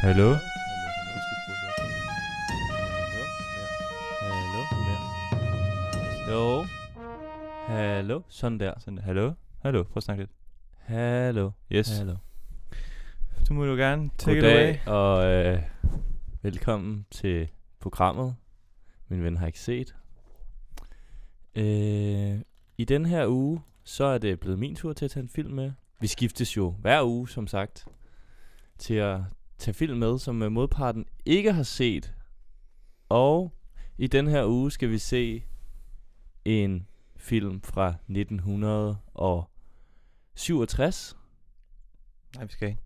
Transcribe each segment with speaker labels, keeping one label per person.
Speaker 1: Hallo?
Speaker 2: Hallo? Jo. Hallo? Sådan der.
Speaker 1: Sådan, hallo? Hallo, prøv at snakke lidt.
Speaker 2: Hallo.
Speaker 1: Yes,
Speaker 2: Hallo.
Speaker 1: du må du gerne take it away.
Speaker 2: Goddag og øh, velkommen til programmet. Min ven har ikke set. Øh, I den her uge, så er det blevet min tur til at tage en film med. Vi skiftes jo hver uge, som sagt, til at tage film med, som øh, modparten ikke har set. Og i den her uge skal vi se en film fra 1967.
Speaker 1: Nej, vi skal ikke.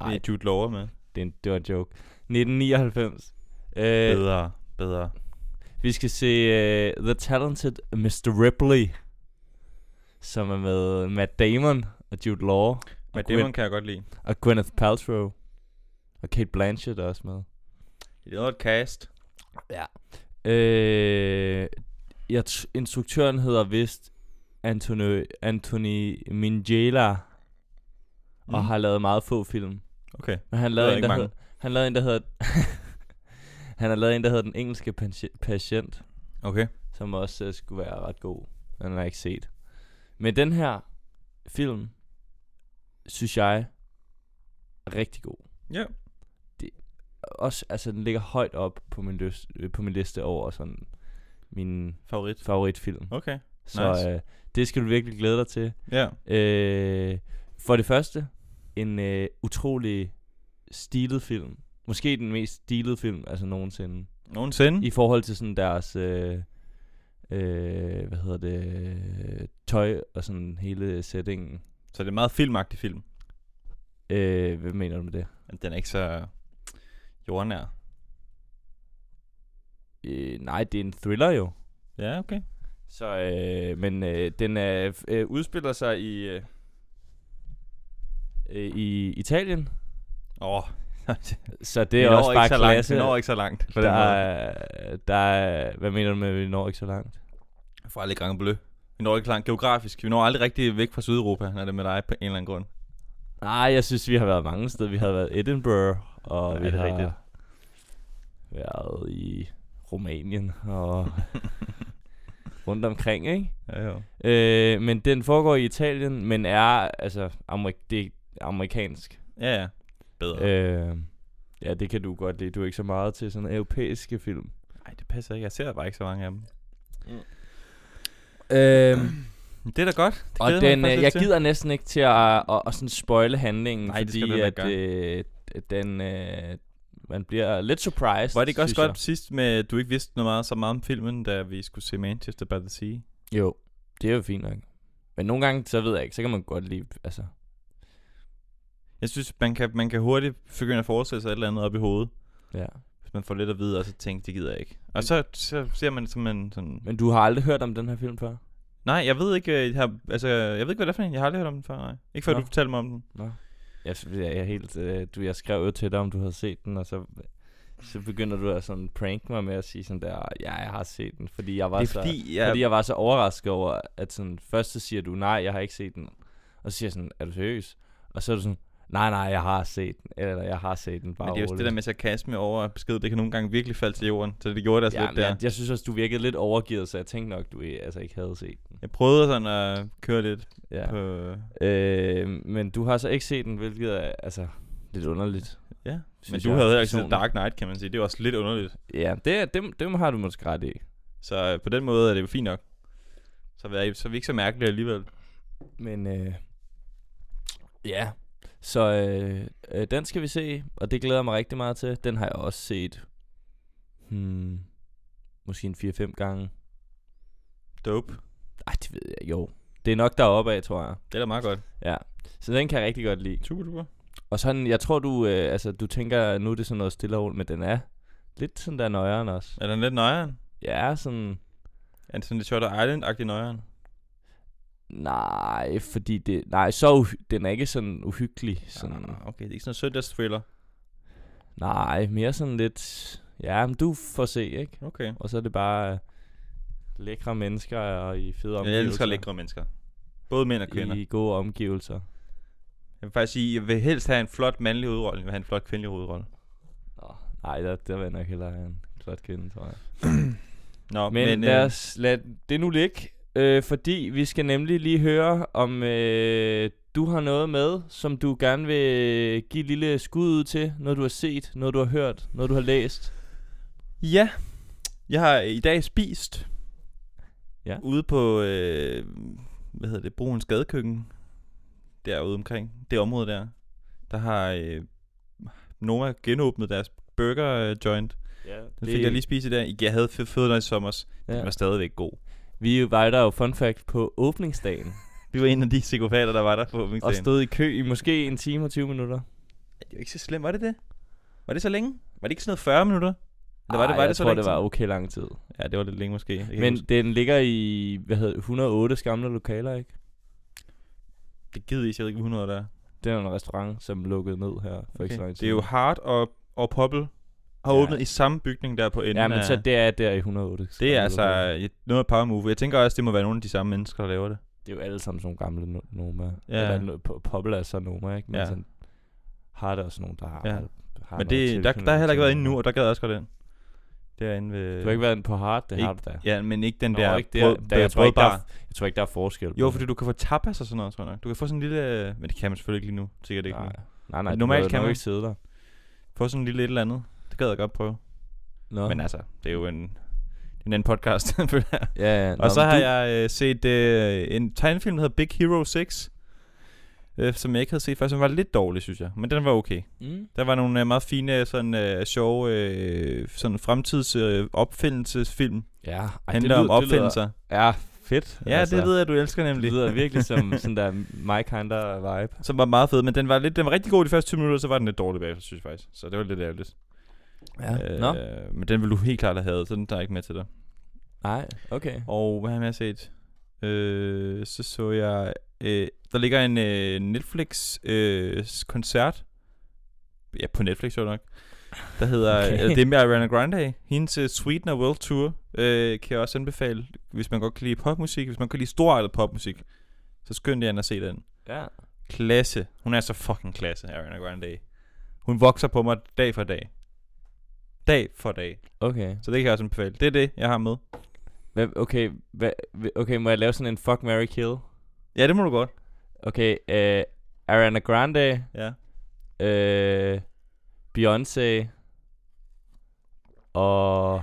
Speaker 2: Ej.
Speaker 1: Det er Jude Law med.
Speaker 2: Det, er en- det var en joke. 1999. Øh,
Speaker 1: Bedre, bedre.
Speaker 2: Vi skal se uh, The Talented Mr. Ripley, som er med Matt Damon og Jude Law
Speaker 1: Men
Speaker 2: Gwen-
Speaker 1: Demon kan jeg godt lide.
Speaker 2: og Gwyneth Paltrow. Og Kate Blanchett er også med.
Speaker 1: Det er noget et cast.
Speaker 2: Øh, jeg t- instruktøren hedder vist Anthony, Anthony Minghella, mm. og har lavet meget få film.
Speaker 1: Mm. Okay.
Speaker 2: Men han
Speaker 1: lyder
Speaker 2: lavede en,
Speaker 1: ikke
Speaker 2: der
Speaker 1: mange.
Speaker 2: hed, han lavede en, der hedder... han har lavet en, der hedder Den Engelske Pati- Patient.
Speaker 1: Okay.
Speaker 2: som også øh, skulle være ret god. Den har jeg ikke set. Men den her film, synes jeg, er rigtig god.
Speaker 1: Ja.
Speaker 2: Også, altså, den ligger højt op på min, lyst, øh, på min liste over sådan min
Speaker 1: Favorit.
Speaker 2: favoritfilm.
Speaker 1: Okay.
Speaker 2: Så
Speaker 1: nice.
Speaker 2: øh, det skal du virkelig glæde dig til.
Speaker 1: Ja.
Speaker 2: Øh, for det første, en øh, utrolig stilet film. Måske den mest stilede film, altså nogensinde
Speaker 1: Nogensinde?
Speaker 2: i forhold til sådan deres øh, øh, hvad hedder det øh, tøj og sådan hele settingen.
Speaker 1: Så det er en meget filmagtig film.
Speaker 2: Øh, hvad mener du med det?
Speaker 1: Men Den er ikke så jordnær.
Speaker 2: Øh, nej, det er en thriller jo.
Speaker 1: Ja, okay.
Speaker 2: Så øh, men øh, den øh, f- øh, udspiller sig i øh, øh, i Italien.
Speaker 1: Åh,
Speaker 2: Så det
Speaker 1: vi
Speaker 2: er
Speaker 1: når
Speaker 2: også bare
Speaker 1: ikke så langt.
Speaker 2: klasse.
Speaker 1: Vi når ikke så langt. På
Speaker 2: der,
Speaker 1: den måde.
Speaker 2: er, der er, hvad mener du med, at vi når ikke så langt?
Speaker 1: For aldrig Grand Bleu. Vi når ikke langt geografisk. Vi når aldrig rigtig væk fra Sydeuropa, når det er med dig på en eller anden grund.
Speaker 2: Nej, jeg synes, vi har været mange steder. Vi har været Edinburgh, og
Speaker 1: Ja,
Speaker 2: vi
Speaker 1: det er
Speaker 2: har
Speaker 1: rigtigt.
Speaker 2: været i Rumænien og rundt omkring, ikke?
Speaker 1: Ja, jo.
Speaker 2: Øh, men den foregår i Italien, men er altså amerik- det er amerikansk.
Speaker 1: Ja, ja. Bedre. Nej,
Speaker 2: Øh, ja, det kan du godt lide. Du er ikke så meget til sådan europæiske film.
Speaker 1: det passer ikke. Jeg ser bare ikke så mange af dem.
Speaker 2: Øh,
Speaker 1: Men Det er da godt. Det
Speaker 2: og
Speaker 1: glæder
Speaker 2: den,
Speaker 1: mig
Speaker 2: jeg,
Speaker 1: faktisk
Speaker 2: jeg
Speaker 1: lidt til.
Speaker 2: gider næsten ikke til at, at, at sådan spoile handlingen,
Speaker 1: Nej, det skal
Speaker 2: fordi
Speaker 1: du heller
Speaker 2: at,
Speaker 1: ikke
Speaker 2: øh, den, øh, man bliver lidt surprised,
Speaker 1: Var det ikke også
Speaker 2: synes jeg.
Speaker 1: godt sidst med, at du ikke vidste noget meget, så meget om filmen, da vi skulle se Manchester by the Sea?
Speaker 2: Jo, det er jo fint nok. Men nogle gange, så ved jeg ikke, så kan man godt lide, altså...
Speaker 1: Jeg synes, man kan, man kan hurtigt begynde at forestille sig et eller andet op i hovedet,
Speaker 2: Ja.
Speaker 1: hvis man får lidt at vide, og så tænker, det gider jeg ikke. Og så, så ser man simpelthen sådan...
Speaker 2: Men du har aldrig hørt om den her film før?
Speaker 1: Nej, jeg ved ikke, øh, jeg har, altså, jeg ved ikke, hvad det er for en. Jeg har aldrig hørt om den før, nej. Ikke før
Speaker 2: Nå.
Speaker 1: du fortalte mig om den.
Speaker 2: Nå. Jeg, jeg, jeg, er helt, øh, du, jeg skrev jo til dig, om du havde set den, og så, så begynder du at sådan prank mig med at sige sådan der, ja, jeg har set den, fordi jeg var,
Speaker 1: det er
Speaker 2: så,
Speaker 1: fordi, jeg,
Speaker 2: fordi jeg var så overrasket over, at sådan, først så siger du, nej, jeg har ikke set den, og så siger jeg sådan, er du seriøs? Og så er du sådan, nej, nej, jeg har set den, eller jeg har set den, bare
Speaker 1: Men det er jo også
Speaker 2: rolig.
Speaker 1: det der med sarkasme over besked, det kan nogle gange virkelig falde til jorden, så det gjorde det altså
Speaker 2: ja,
Speaker 1: lidt
Speaker 2: men
Speaker 1: der.
Speaker 2: jeg, jeg, synes også, du virkede lidt overgivet, så jeg tænkte nok, du øh, altså ikke havde set den.
Speaker 1: Jeg prøvede sådan at køre lidt
Speaker 2: Ja.
Speaker 1: ja. på...
Speaker 2: Øh, men du har så ikke set den, hvilket er altså lidt underligt.
Speaker 1: Ja, men
Speaker 2: synes
Speaker 1: du
Speaker 2: jeg,
Speaker 1: havde heller ikke set
Speaker 2: personligt.
Speaker 1: Dark Knight, kan man sige. Det var også lidt underligt.
Speaker 2: Ja, det, er- dem, dem har du måske ret i.
Speaker 1: Så øh, på den måde er det jo fint nok. Så er, så er vi ikke så mærkelige alligevel.
Speaker 2: Men øh, ja, så øh, øh, den skal vi se, og det glæder jeg mig rigtig meget til. Den har jeg også set hmm, måske en 4-5 gange.
Speaker 1: Dope.
Speaker 2: Ej, det ved jeg jo. Det er nok deroppe af, tror jeg.
Speaker 1: Det er da meget godt.
Speaker 2: Ja, så den kan jeg rigtig godt lide.
Speaker 1: Super duper.
Speaker 2: Og sådan, jeg tror du, øh, altså du tænker, nu er det sådan noget stille og roligt, men den er lidt sådan der nøjeren også.
Speaker 1: Er den lidt nøjeren?
Speaker 2: Ja, sådan...
Speaker 1: Er den sådan lidt Shutter Island-agtig nøjeren?
Speaker 2: Nej, fordi det... Nej, så uhy- den er ikke sådan uhyggelig. Sådan.
Speaker 1: Ah, okay, det er ikke sådan en søndagsthriller.
Speaker 2: Nej, mere sådan lidt... Ja, men du får se, ikke?
Speaker 1: Okay.
Speaker 2: Og så er det bare øh, lækre mennesker og i fede omgivelser.
Speaker 1: Jeg elsker lækre mennesker. Både mænd og kvinder.
Speaker 2: I gode omgivelser.
Speaker 1: Jeg vil faktisk sige, jeg vil helst have en flot mandlig hovedrolle, end jeg vil have en flot kvindelig hovedrolle.
Speaker 2: Nå, nej, der, der vil jeg nok hellere have en flot kvinde, tror jeg.
Speaker 1: Nå, øh,
Speaker 2: Men, men lad, os, lad det nu ligge, øh, fordi vi skal nemlig lige høre, om øh, du har noget med, som du gerne vil give et lille skud ud til, noget du har set, noget du har hørt, noget du har læst.
Speaker 1: Øh, ja, jeg har i dag spist
Speaker 2: Ja.
Speaker 1: ude på, øh, hvad hedder det, Broens Gadekøkken, derude omkring, det område der. Der har øh, Noma genåbnet deres burger øh, joint.
Speaker 2: Ja,
Speaker 1: Den fik jeg lige spist i dag. Jeg havde fået den i sommer. Ja. Den var stadigvæk god.
Speaker 2: Vi var der jo, fun fact, på åbningsdagen,
Speaker 1: Vi var en af de psykopater, der var der på
Speaker 2: og
Speaker 1: åbningsdagen.
Speaker 2: stod i kø i måske en time og 20 minutter.
Speaker 1: Det var ikke så slemt, var det det? Var det så længe? Var det ikke sådan noget 40 minutter? Eller var det,
Speaker 2: Ej,
Speaker 1: var
Speaker 2: jeg
Speaker 1: det så
Speaker 2: tror,
Speaker 1: lang
Speaker 2: det var
Speaker 1: tid?
Speaker 2: okay lang tid.
Speaker 1: Ja, det var lidt længe måske. Jeg kan ikke
Speaker 2: Men
Speaker 1: huske.
Speaker 2: den ligger i, hvad hedder det, 108 skamle lokaler, ikke?
Speaker 1: det gider I, jeg ved ikke, hvor 100 der er.
Speaker 2: Det er en restaurant, som lukkede ned her for okay. ikke så
Speaker 1: Okay.
Speaker 2: lang tid.
Speaker 1: Det er jo Hart og, og Popple har
Speaker 2: Ja.
Speaker 1: ja. åbnet i samme bygning der på enden
Speaker 2: Ja, men
Speaker 1: af...
Speaker 2: så det er der i 108.
Speaker 1: øh, det er altså
Speaker 2: skamle lokaler.
Speaker 1: et- noget af power move. Jeg tænker også, det må være nogle af de samme mennesker, der laver det.
Speaker 2: Det er jo alle sammen sådan nogle gamle no- Noma.
Speaker 1: Ja.
Speaker 2: Ja. Eller no- Popple er så Noma, ikke? Men ja.
Speaker 1: Ja.
Speaker 2: sådan har der også nogen, der har...
Speaker 1: Ja.
Speaker 2: har
Speaker 1: men
Speaker 2: noget
Speaker 1: det, der,
Speaker 2: tilknytning
Speaker 1: der har heller ikke været
Speaker 2: til
Speaker 1: inde nu,
Speaker 2: Noma.
Speaker 1: og der gad jeg også godt ind. Derinde ved...
Speaker 2: Du har ikke været inde på Hard, det
Speaker 1: Ikke-
Speaker 2: har du da.
Speaker 1: Ja, men ikke den
Speaker 2: Nå,
Speaker 1: der,
Speaker 2: ikke der. Der- jeg tror ikke, der er-
Speaker 1: brødbar.
Speaker 2: Jeg tror ikke, der er forskel. på
Speaker 1: Jo,
Speaker 2: det.
Speaker 1: fordi du kan få tapas og sådan noget, tror jeg nok. Du kan få sådan en lille... Men det kan man selvfølgelig ikke lige nu. Sikkert ikke.
Speaker 2: Nej,
Speaker 1: nu.
Speaker 2: nej, nej
Speaker 1: Men
Speaker 2: normalt kan man
Speaker 1: man-
Speaker 2: ikke sidde der.
Speaker 1: Få sådan en lille et eller andet. Det gad jeg godt prøve.
Speaker 2: Nå.
Speaker 1: Men altså, det er jo en, det er en anden podcast, føler jeg.
Speaker 2: ja, ja,
Speaker 1: Og så
Speaker 2: men
Speaker 1: har
Speaker 2: du-
Speaker 1: jeg øh, set øh, en tegnefilm, der hedder Big Hero 6, øh, som jeg ikke havde set før, som var lidt dårlig, synes jeg. Men den var okay.
Speaker 2: Mm.
Speaker 1: Der var nogle øh, meget fine, sådan øh, sjove, øh, sådan fremtids øh, opfindelsesfilm.
Speaker 2: Ja, ej,
Speaker 1: Ej, handler om
Speaker 2: lyder-
Speaker 1: opfindelser.
Speaker 2: lyder, ja, fedt. Altså,
Speaker 1: ja, det ved jeg, du elsker nemlig.
Speaker 2: Det lyder virkelig som sådan der my kind of vibe.
Speaker 1: som var meget fed, men den var, lidt, den var rigtig god de første 20 minutter, så var den lidt dårlig bagefter, synes jeg faktisk. Så det var lidt ærgerligt.
Speaker 2: Ja. Øh, Nå,
Speaker 1: Øh, men den ville du helt klart have hadet, så den tager jeg ikke med til dig.
Speaker 2: nej, okay.
Speaker 1: Og hvad har jeg set? Øh, så så jeg... Øh, der ligger en øh, Netflix-koncert. ja, på Netflix jo nok. Der hedder...
Speaker 2: Okay.
Speaker 1: Okay. Øh, det er med Ariana Grande. Hendes øh, Sweetener World Tour øh, kan jeg også anbefale, hvis man godt kan lide popmusik. Hvis man kan lide storartet popmusik, så skynd jer ind og se den.
Speaker 2: Ja.
Speaker 1: Klasse. Hun er så fucking klasse, Ariana Grande. Hun vokser på mig dag for dag. Dag for dag.
Speaker 2: Okay.
Speaker 1: Så det kan jeg også anbefale. Det er det, jeg har med.
Speaker 2: Hvad, okay, hvad, okay, må jeg lave sådan en fuck, Mary kill?
Speaker 1: Ja, det må du godt.
Speaker 2: Okay, øh, Ariana Grande,
Speaker 1: Ja.
Speaker 2: øh, Beyoncé, og...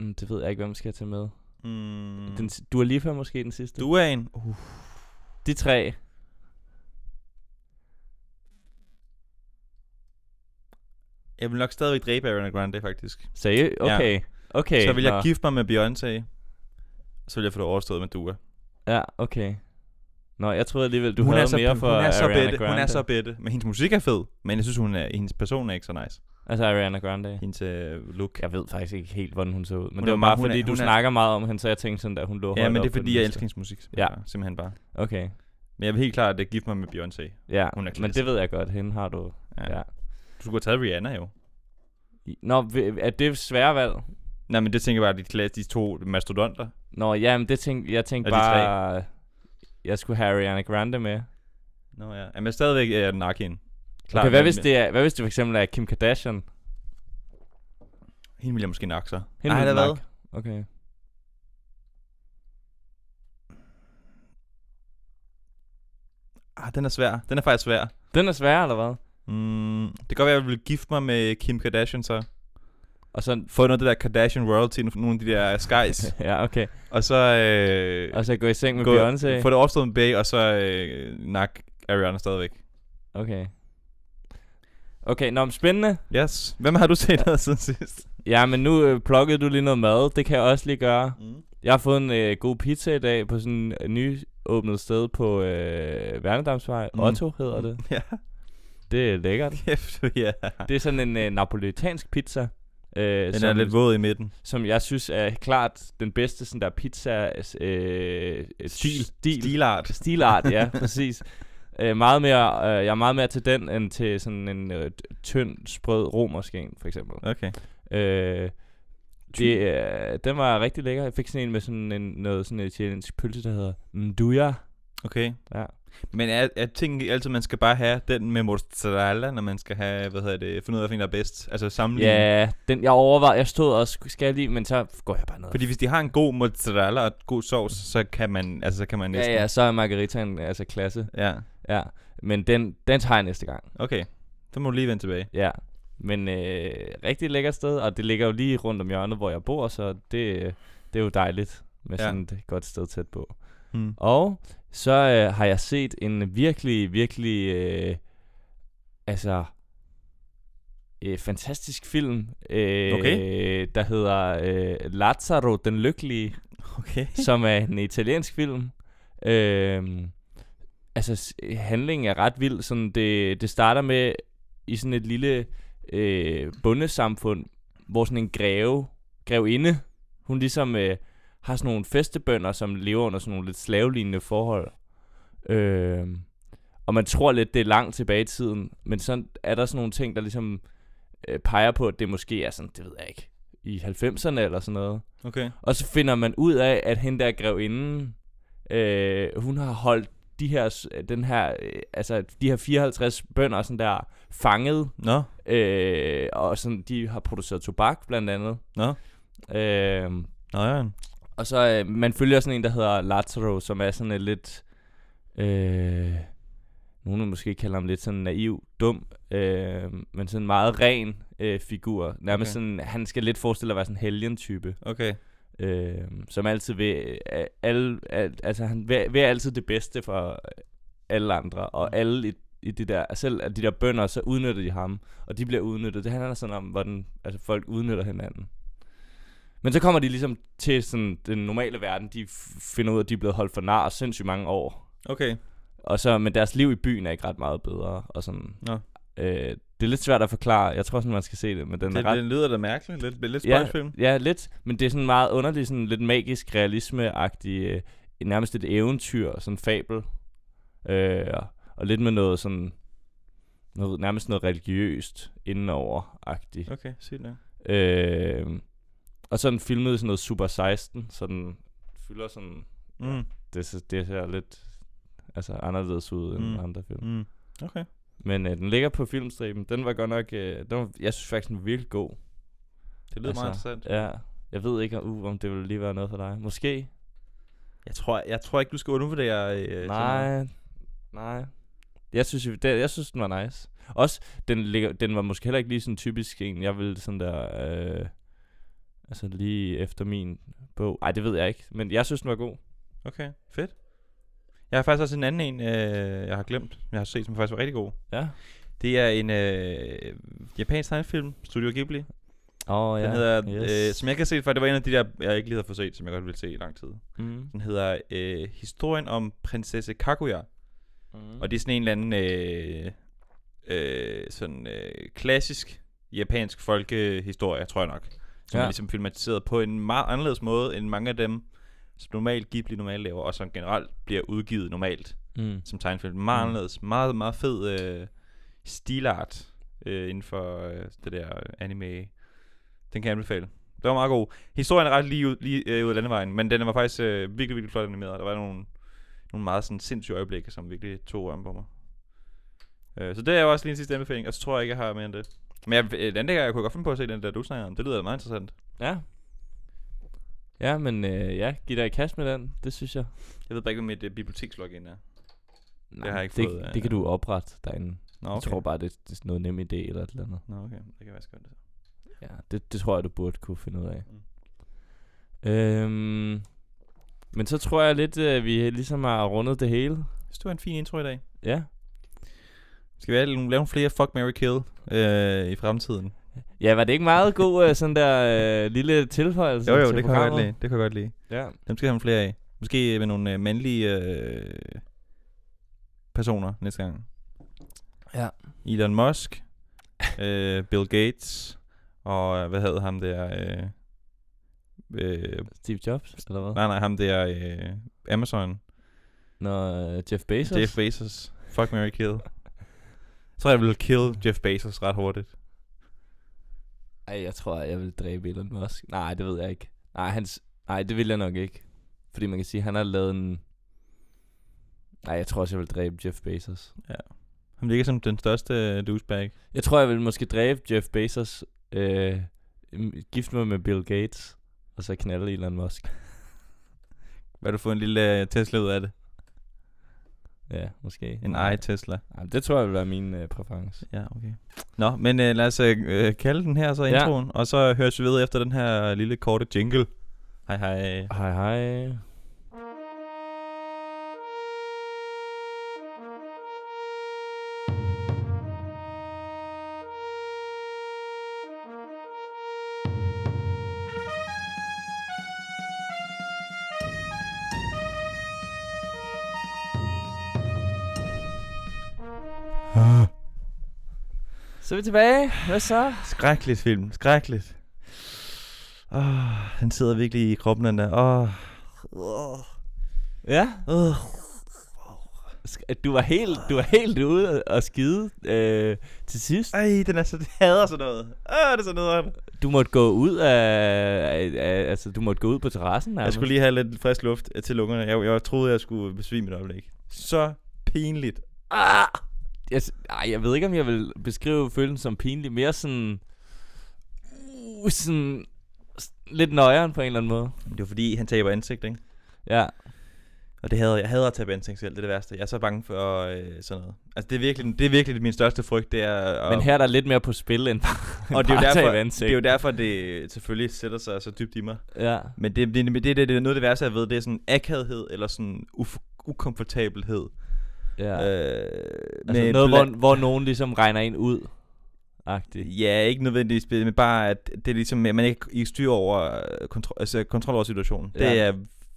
Speaker 2: Mm, det ved jeg ikke, hvem skal jeg tage med.
Speaker 1: Mm.
Speaker 2: Mm. Den, si- Dua Lipa måske den sidste.
Speaker 1: Du er en. Uh,
Speaker 2: De tre.
Speaker 1: jeg vil nok stadigvæk dræbe Ariana Grande, faktisk.
Speaker 2: Seriøst?
Speaker 1: Ja.
Speaker 2: Okay. Ja. Okay.
Speaker 1: så vil jeg
Speaker 2: nå.
Speaker 1: gifte mig med Beyoncé. Og så vil jeg få det overstået med Dua.
Speaker 2: Ja, okay. Nå, jeg troede alligevel, du hun havde mere for
Speaker 1: hun er så
Speaker 2: Ariana
Speaker 1: bedte,
Speaker 2: Grande.
Speaker 1: Hun er så bedte. Men hendes musik er fed. Men jeg synes, hun er, hendes person er ikke så nice.
Speaker 2: Altså Ariana Grande.
Speaker 1: Hendes øh, look.
Speaker 2: Jeg ved faktisk ikke helt, hvordan hun så ud. Men
Speaker 1: Hun
Speaker 2: det
Speaker 1: er
Speaker 2: var
Speaker 1: meget-
Speaker 2: bare
Speaker 1: hun er-
Speaker 2: fordi, du
Speaker 1: hun er-
Speaker 2: snakker meget om hende, så jeg tænkte sådan, at hun lå
Speaker 1: Ja,
Speaker 2: højt
Speaker 1: men
Speaker 2: oppe
Speaker 1: det er
Speaker 2: på den
Speaker 1: fordi, jeg
Speaker 2: liste.
Speaker 1: elsker hendes musik.
Speaker 2: Ja.
Speaker 1: Ja. Simpelthen bare.
Speaker 2: Okay,
Speaker 1: Men jeg vil helt klart øh, gifte mig med Beyoncé.
Speaker 2: ja.
Speaker 1: Hun er
Speaker 2: men
Speaker 1: klasse.
Speaker 2: det ved jeg godt, hende har du. Ja. ja.
Speaker 1: Du skulle have taget Rihanna jo.
Speaker 2: I- Nå, vi- er det svære valg?
Speaker 1: Nej, men det tænker jeg bare, at de, klasse, de to mastodonter.
Speaker 2: Nå, ja, men det tænkte jeg tænkte
Speaker 1: Er de tre?
Speaker 2: bare, jeg skulle have Ariana Grande med.
Speaker 1: Nå ja. Jamen, stadigvæk er jeg den hende.
Speaker 2: Klar, okay, hvad hvis, det er, hvad hvis det for eksempel er Kim Kardashian? Hende
Speaker 1: Hende vil jeg måske nok så.
Speaker 2: ville
Speaker 1: der
Speaker 2: du nok- Okay.
Speaker 1: Ah, den er svær. Den er faktisk svær.
Speaker 2: Den er svær, eller hvad?
Speaker 1: Mm, det kan godt være, at jeg ville gifte mig med Kim Kardashian så.
Speaker 2: Og så,
Speaker 1: Få noget af det der Kardashian royalty, nogle af de der skies.
Speaker 2: ja, okay.
Speaker 1: og så... Øh,
Speaker 2: Og så gå i seng med
Speaker 1: gå-
Speaker 2: Beyoncé.
Speaker 1: Få det opstået med Bay, og så øh, nak Ariana stadigvæk.
Speaker 2: Okay. Okay, nå, men spændende.
Speaker 1: Yes. Hvem har du set der siden sidst?
Speaker 2: Ja, men nu øh, plukkede du lige noget mad. Det kan jeg også lige gøre.
Speaker 1: Mm.
Speaker 2: Jeg har fået en øh, god pizza i dag på sådan et nyåbnet sted på øh, Værnedamsvej. Mm.
Speaker 1: Mm.
Speaker 2: Otto hedder det.
Speaker 1: Ja,
Speaker 2: Det er lækkert.
Speaker 1: kæft, ja.
Speaker 2: Det er sådan en øh, napolitansk pizza. Øh,
Speaker 1: Den
Speaker 2: som,
Speaker 1: er lidt våd i midten.
Speaker 2: som jeg synes er klart den bedste sådan der pizza øh, stil, stil
Speaker 1: Stilart.
Speaker 2: Stilart, ja, præcis. Øh, meget mere, øh, jeg er meget mere til den, end til sådan en øh, t- tynd, sprød romersk en, for eksempel.
Speaker 1: Okay.
Speaker 2: Øh, det, øh, den var rigtig lækker. Jeg fik sådan en med sådan en, noget sådan et italiensk pølse, der hedder Nduja.
Speaker 1: Okay.
Speaker 2: Ja.
Speaker 1: Men er, er ting altid, man skal bare have den med mozzarella, når man skal have, hvad hedder det, finde ud af, hvilken der er bedst? Altså sammenligne.
Speaker 2: Ja, den, jeg overvejede, jeg stod også, skal jeg lige, men så går jeg bare ned.
Speaker 1: Fordi hvis de har en god mozzarella og et god sovs, så kan man, altså, så kan man næsten...
Speaker 2: ja, ja, så er margaritaen altså klasse.
Speaker 1: ja.
Speaker 2: Ja, men den, den tager jeg næste gang.
Speaker 1: Okay. Så må du lige vende tilbage.
Speaker 2: Ja, men øh, rigtig lækkert sted, og det ligger jo lige rundt om hjørnet, hvor jeg bor, så det, øh, det er jo dejligt med
Speaker 1: Ja.
Speaker 2: ja. sådan et godt sted tæt på.
Speaker 1: Hmm.
Speaker 2: Og så øh, har jeg set en virkelig, virkelig, øh, altså, øh, fantastisk film, øh,
Speaker 1: Okay.
Speaker 2: der hedder øh, Lazzaro den Lykkelige,
Speaker 1: Okay.
Speaker 2: som er en italiensk film. Øh, altså, s- handlingen er ret vild. Sådan det, det starter med i sådan et lille øh, bundesamfund, hvor sådan en greve, grevinde, hun ligesom øh, har sådan nogle festebønder, som lever under sådan nogle lidt slavelignende forhold. Øh, og man tror lidt, det er langt tilbage i tiden, men så er der sådan nogle ting, der ligesom øh, peger på, at det måske er sådan, det ved jeg ikke, i 90'erne eller sådan noget.
Speaker 1: Okay.
Speaker 2: Og så finder man ud af, at hende der grevinden, øh, hun har holdt de her, s- den her, øh, altså de her 54 bønder sådan der fanget,
Speaker 1: Nå.
Speaker 2: øh, og sådan, de har produceret tobak blandt andet.
Speaker 1: Nå.
Speaker 2: Øh,
Speaker 1: Nå, Jørgen.
Speaker 2: og så, øh, man følger sådan en, der hedder Lazaro, som er sådan en lidt, øh, nogen vil måske kalde ham lidt sådan naiv, dum, øh, men sådan en meget ren øh, figur. Nærmest
Speaker 1: Okay.
Speaker 2: okay. sådan, han skal lidt forestille at være sådan en helgen-type
Speaker 1: Okay.
Speaker 2: øh, som altid vil, øh, alle, al, altså han vil, vil altid det bedste for øh, alle andre, og
Speaker 1: Mm.
Speaker 2: alle i, i det der, selv at de der bønder, så udnytter de ham, og de bliver udnyttet. Det handler sådan om, hvordan altså folk udnytter hinanden. Men så kommer de ligesom til sådan den normale verden, de f- finder ud af, at de er blevet holdt for nar sindssygt mange år.
Speaker 1: Okay.
Speaker 2: Og så, men deres liv i byen er ikke ret meget bedre, og sådan.
Speaker 1: Nå.
Speaker 2: Øh, det er lidt svært at forklare. Jeg tror sådan, man skal se det, men den
Speaker 1: Det,
Speaker 2: er ret
Speaker 1: det, lyder da mærkeligt. Lidt, lidt
Speaker 2: Ja.
Speaker 1: spøjsfilm.
Speaker 2: Ja, lidt. Men det er sådan meget underlig, sådan lidt magisk realisme-agtig, øh, nærmest et eventyr, sådan fabel. Øh, og- og lidt med noget sådan, noget, nærmest noget religiøst indenover-agtigt.
Speaker 1: Okay, sig det.
Speaker 2: Okay. Øh, og sådan filmet sådan noget Super 16, så den fylder sådan,
Speaker 1: Mm.
Speaker 2: det, ser- det ser lidt altså anderledes ud end
Speaker 1: Mm.
Speaker 2: mm. andre film.
Speaker 1: Mm. Okay.
Speaker 2: Men øh, den ligger på filmstriben. Den var godt nok, øh, den var, jeg synes faktisk, den var virkelig god.
Speaker 1: Det lyder altså, meget
Speaker 2: Altså,
Speaker 1: interessant.
Speaker 2: Ja, jeg ved ikke, uh, om det ville lige være noget for dig. Måske.
Speaker 1: Jeg tror, jeg tror ikke, du skal undervurdere... Øh, sådan noget.
Speaker 2: nej, nej. Jeg synes, jo- det, jeg synes, den var nice. Også, den, ligger, den var måske heller ikke lige sådan typisk en, jeg ville sådan der... Øh, altså lige efter min bog. Ej, det ved jeg ikke. Men jeg synes, den var god.
Speaker 1: Okay, fedt. Jeg har faktisk også en anden en, øh, jeg har glemt, men jeg har set, som faktisk var rigtig god.
Speaker 2: Ja.
Speaker 1: Det er en øh, japansk tegnefilm, Studio Ghibli.
Speaker 2: Åh, oh,
Speaker 1: Den
Speaker 2: ja.
Speaker 1: hedder,
Speaker 2: yes.
Speaker 1: øh, som jeg kan se, for det var en af de der, jeg ikke lige havde fået set, som jeg godt ville se i lang tid.
Speaker 2: Mm.
Speaker 1: Den hedder øh, Historien om prinsesse Kaguya.
Speaker 2: Mm.
Speaker 1: Og det er sådan en eller anden øh, øh, sådan, øh, klassisk japansk folkehistorie, tror jeg nok. Som ja.
Speaker 2: Ja.
Speaker 1: er ligesom filmatiseret på en meget anderledes måde end mange af dem, som normalt Ghibli normalt laver, og som generelt bliver udgivet normalt
Speaker 2: Mm.
Speaker 1: som tegnefilm. Meget
Speaker 2: Mm.
Speaker 1: mm. anderledes, meget, meget fed øh, stilart øh, inden for øh, det der anime. Den kan jeg anbefale. Det var meget god. Historien er ret lige ud, lige, øh, ud af landevejen, men den var faktisk øh, virkelig, virkelig flot animeret. Der var nogle, nogle meget sådan sindssyge øjeblikke, som virkelig tog røven på mig. Øh, så det er jo også lige en sidste anbefaling, og så tror jeg ikke, jeg har mere end det. Men jeg, øh, den der, jeg kunne godt finde på at se den der, du snakker om. Det lyder meget interessant.
Speaker 2: Ja. Ja, men øh, ja, giv dig i kast med den. Det synes jeg.
Speaker 1: Jeg ved bare ikke, hvad mit øh, bibliotekslogin er.
Speaker 2: Nej,
Speaker 1: har jeg ikke
Speaker 2: det,
Speaker 1: fået, øh,
Speaker 2: det kan du oprette derinde.
Speaker 1: Nå,
Speaker 2: Okay. Jeg tror bare, det, det er sådan noget nem idé eller et eller andet.
Speaker 1: Nå, okay. Det kan være skønt.
Speaker 2: Ja, det, det tror jeg, du burde kunne finde ud af.
Speaker 1: Mm.
Speaker 2: Mm. Øhm, men så tror jeg lidt, at vi ligesom har rundet det hele.
Speaker 1: Hvis du har en fin intro i dag.
Speaker 2: Ja.
Speaker 1: Skal vi have- lave nogle flere Fuck, Mary Kill øh, i fremtiden?
Speaker 2: Ja, var det ikke meget god øh, sådan der øh, lille tilføjelse
Speaker 1: Jo, jo,
Speaker 2: til
Speaker 1: det kan, jeg godt
Speaker 2: programmet?
Speaker 1: lide. det kan jeg godt lide.
Speaker 2: Ja.
Speaker 1: Dem skal jeg have nogle flere af. Måske med nogle øh, mandlige øh, personer næste gang.
Speaker 2: Ja.
Speaker 1: Elon Musk, øh, Bill Gates, og øh, hvad hed ham der? Øh, øh,
Speaker 2: Steve Jobs, eller hvad?
Speaker 1: nej, nej, ham der øh, Amazon.
Speaker 2: Nå, øh, Jeff Bezos?
Speaker 1: Jeff Bezos. Fuck, Mary Kill. Jeg tror, jeg vil kill Jeff Bezos ret hurtigt.
Speaker 2: Ej, jeg tror, jeg vil dræbe Elon Musk. Nej, det ved jeg ikke. Nej, hans... Nej, det vil jeg nok ikke. Fordi man kan sige, han har lavet en... Nej, jeg tror også, jeg vil dræbe Jeff Bezos.
Speaker 1: Han virker som den største øh, douchebag.
Speaker 2: Jeg tror, jeg vil måske dræbe Jeff Bezos, øh, m- gifte mig med Bill Gates, og så knalde Elon Musk.
Speaker 1: Hvad du får en lille øh, Tesla ud af det?
Speaker 2: Ja, måske.
Speaker 1: En ej Tesla.
Speaker 2: Ej, men det tror jeg vil være min øh, præference.
Speaker 1: Ja, okay. Nå, men øh, lad os øh, øh, kalde den her så
Speaker 2: Ja.
Speaker 1: introen, og så høres vi ved efter den her øh, lille korte jingle. Hej hej.
Speaker 2: Hej hej. Så er vi tilbage. Hvad så?
Speaker 1: Skrækkeligt film, skrækkeligt. Oh, han sidder virkelig i kroppen, den der. Oh.
Speaker 2: Ja,
Speaker 1: Uh.
Speaker 2: Sk- Du var helt, du var helt ude og skide øh, til sidst.
Speaker 1: Ej, den er så, den hader sådan noget. Åh, det er sådan noget.
Speaker 2: Du måtte gå ud af, af, af altså du måtte gå ud på terrassen.
Speaker 1: Jeg skulle lige have lidt frisk luft øh, til lungerne. Jeg, jeg troede, jeg skulle besvime et øjeblik. Så pinligt.
Speaker 2: Ah! Jeg, s- ej, jeg ved ikke om jeg vil beskrive følelsen som pinlig, mere sådan uh, sådan s- lidt nøjeren på en eller anden måde.
Speaker 1: Det var fordi, han taber ansigt, ikke?
Speaker 2: Ja.
Speaker 1: Og det hader jeg. Jeg hader at tabe ansigt selv. Det er det værste. Jeg er så bange for øh, sådan noget. Altså, det er virkelig, det er virkelig min største frygt, det er... At,
Speaker 2: Men her er der lidt mere på spil end bare,
Speaker 1: og det er, jo derfor,
Speaker 2: ansigt.
Speaker 1: det er jo derfor, det selvfølgelig sætter sig så dybt i mig.
Speaker 2: Ja.
Speaker 1: Men det, det, det, det, det er noget af det værste, jeg ved. Det er sådan akavhed eller sådan uf- ukomfortabelhed.
Speaker 2: ja. Øh,
Speaker 1: Øh,
Speaker 2: altså
Speaker 1: med
Speaker 2: noget,
Speaker 1: bla-
Speaker 2: hvor, hvor nogen ligesom regner en ud. Agtigt.
Speaker 1: Ja, ikke nødvendigvis, spil, men bare, at det er ligesom, at man ikke i styr over øh, kontro- altså, kontrol over situationen. Ja. Det
Speaker 2: Ja.
Speaker 1: er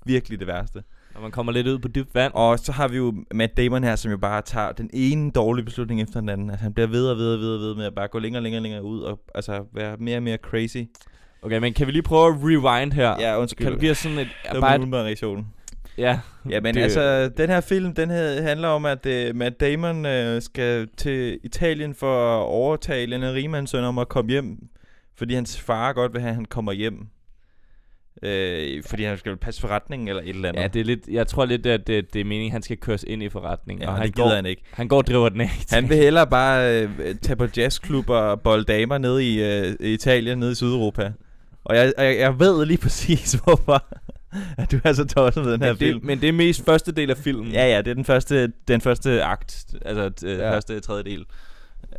Speaker 1: virkelig det værste.
Speaker 2: Når man kommer lidt ud på dybt vand.
Speaker 1: Og så har vi jo Matt Damon her, som jo bare tager den ene dårlige beslutning efter den anden. Altså, han bliver ved og ved og ved, og ved med at bare gå længere og længere, og længere ud og altså, være mere og mere crazy.
Speaker 2: Okay, men kan vi lige prøve at rewind her?
Speaker 1: Ja, undskyld.
Speaker 2: Kan du give os sådan et...
Speaker 1: det var
Speaker 2: bare
Speaker 1: min
Speaker 2: et
Speaker 1: umiddelbare reaktion.
Speaker 2: ja,
Speaker 1: Ja, men
Speaker 2: Det-
Speaker 1: det... altså, den her film, den her, handler om, at uh, Matt Damon uh, skal til Italien for at overtale en rigmandssøn om at komme hjem, fordi hans far godt vil have, at han kommer hjem. Øh, fordi han skal passe forretningen eller et eller andet.
Speaker 2: ja, det er lidt, jeg tror lidt, at det, det er meningen, han skal køres ind i forretningen.
Speaker 1: ja,
Speaker 2: og
Speaker 1: og
Speaker 2: han
Speaker 1: det
Speaker 2: går,
Speaker 1: gider han ikke.
Speaker 2: han går og driver den af.
Speaker 1: Han vil hellere bare øh, tage på jazzklub og bolde damer nede i øh, Italien, nede i Sydeuropa. Og jeg, jeg, jeg ved lige præcis, hvorfor at du er så tosset med den her
Speaker 2: men,
Speaker 1: film.
Speaker 2: det, men det er mest første del af filmen.
Speaker 1: Ja, ja, det er den første, den første akt, altså øh,
Speaker 2: Ja.
Speaker 1: ja. første tredjedel.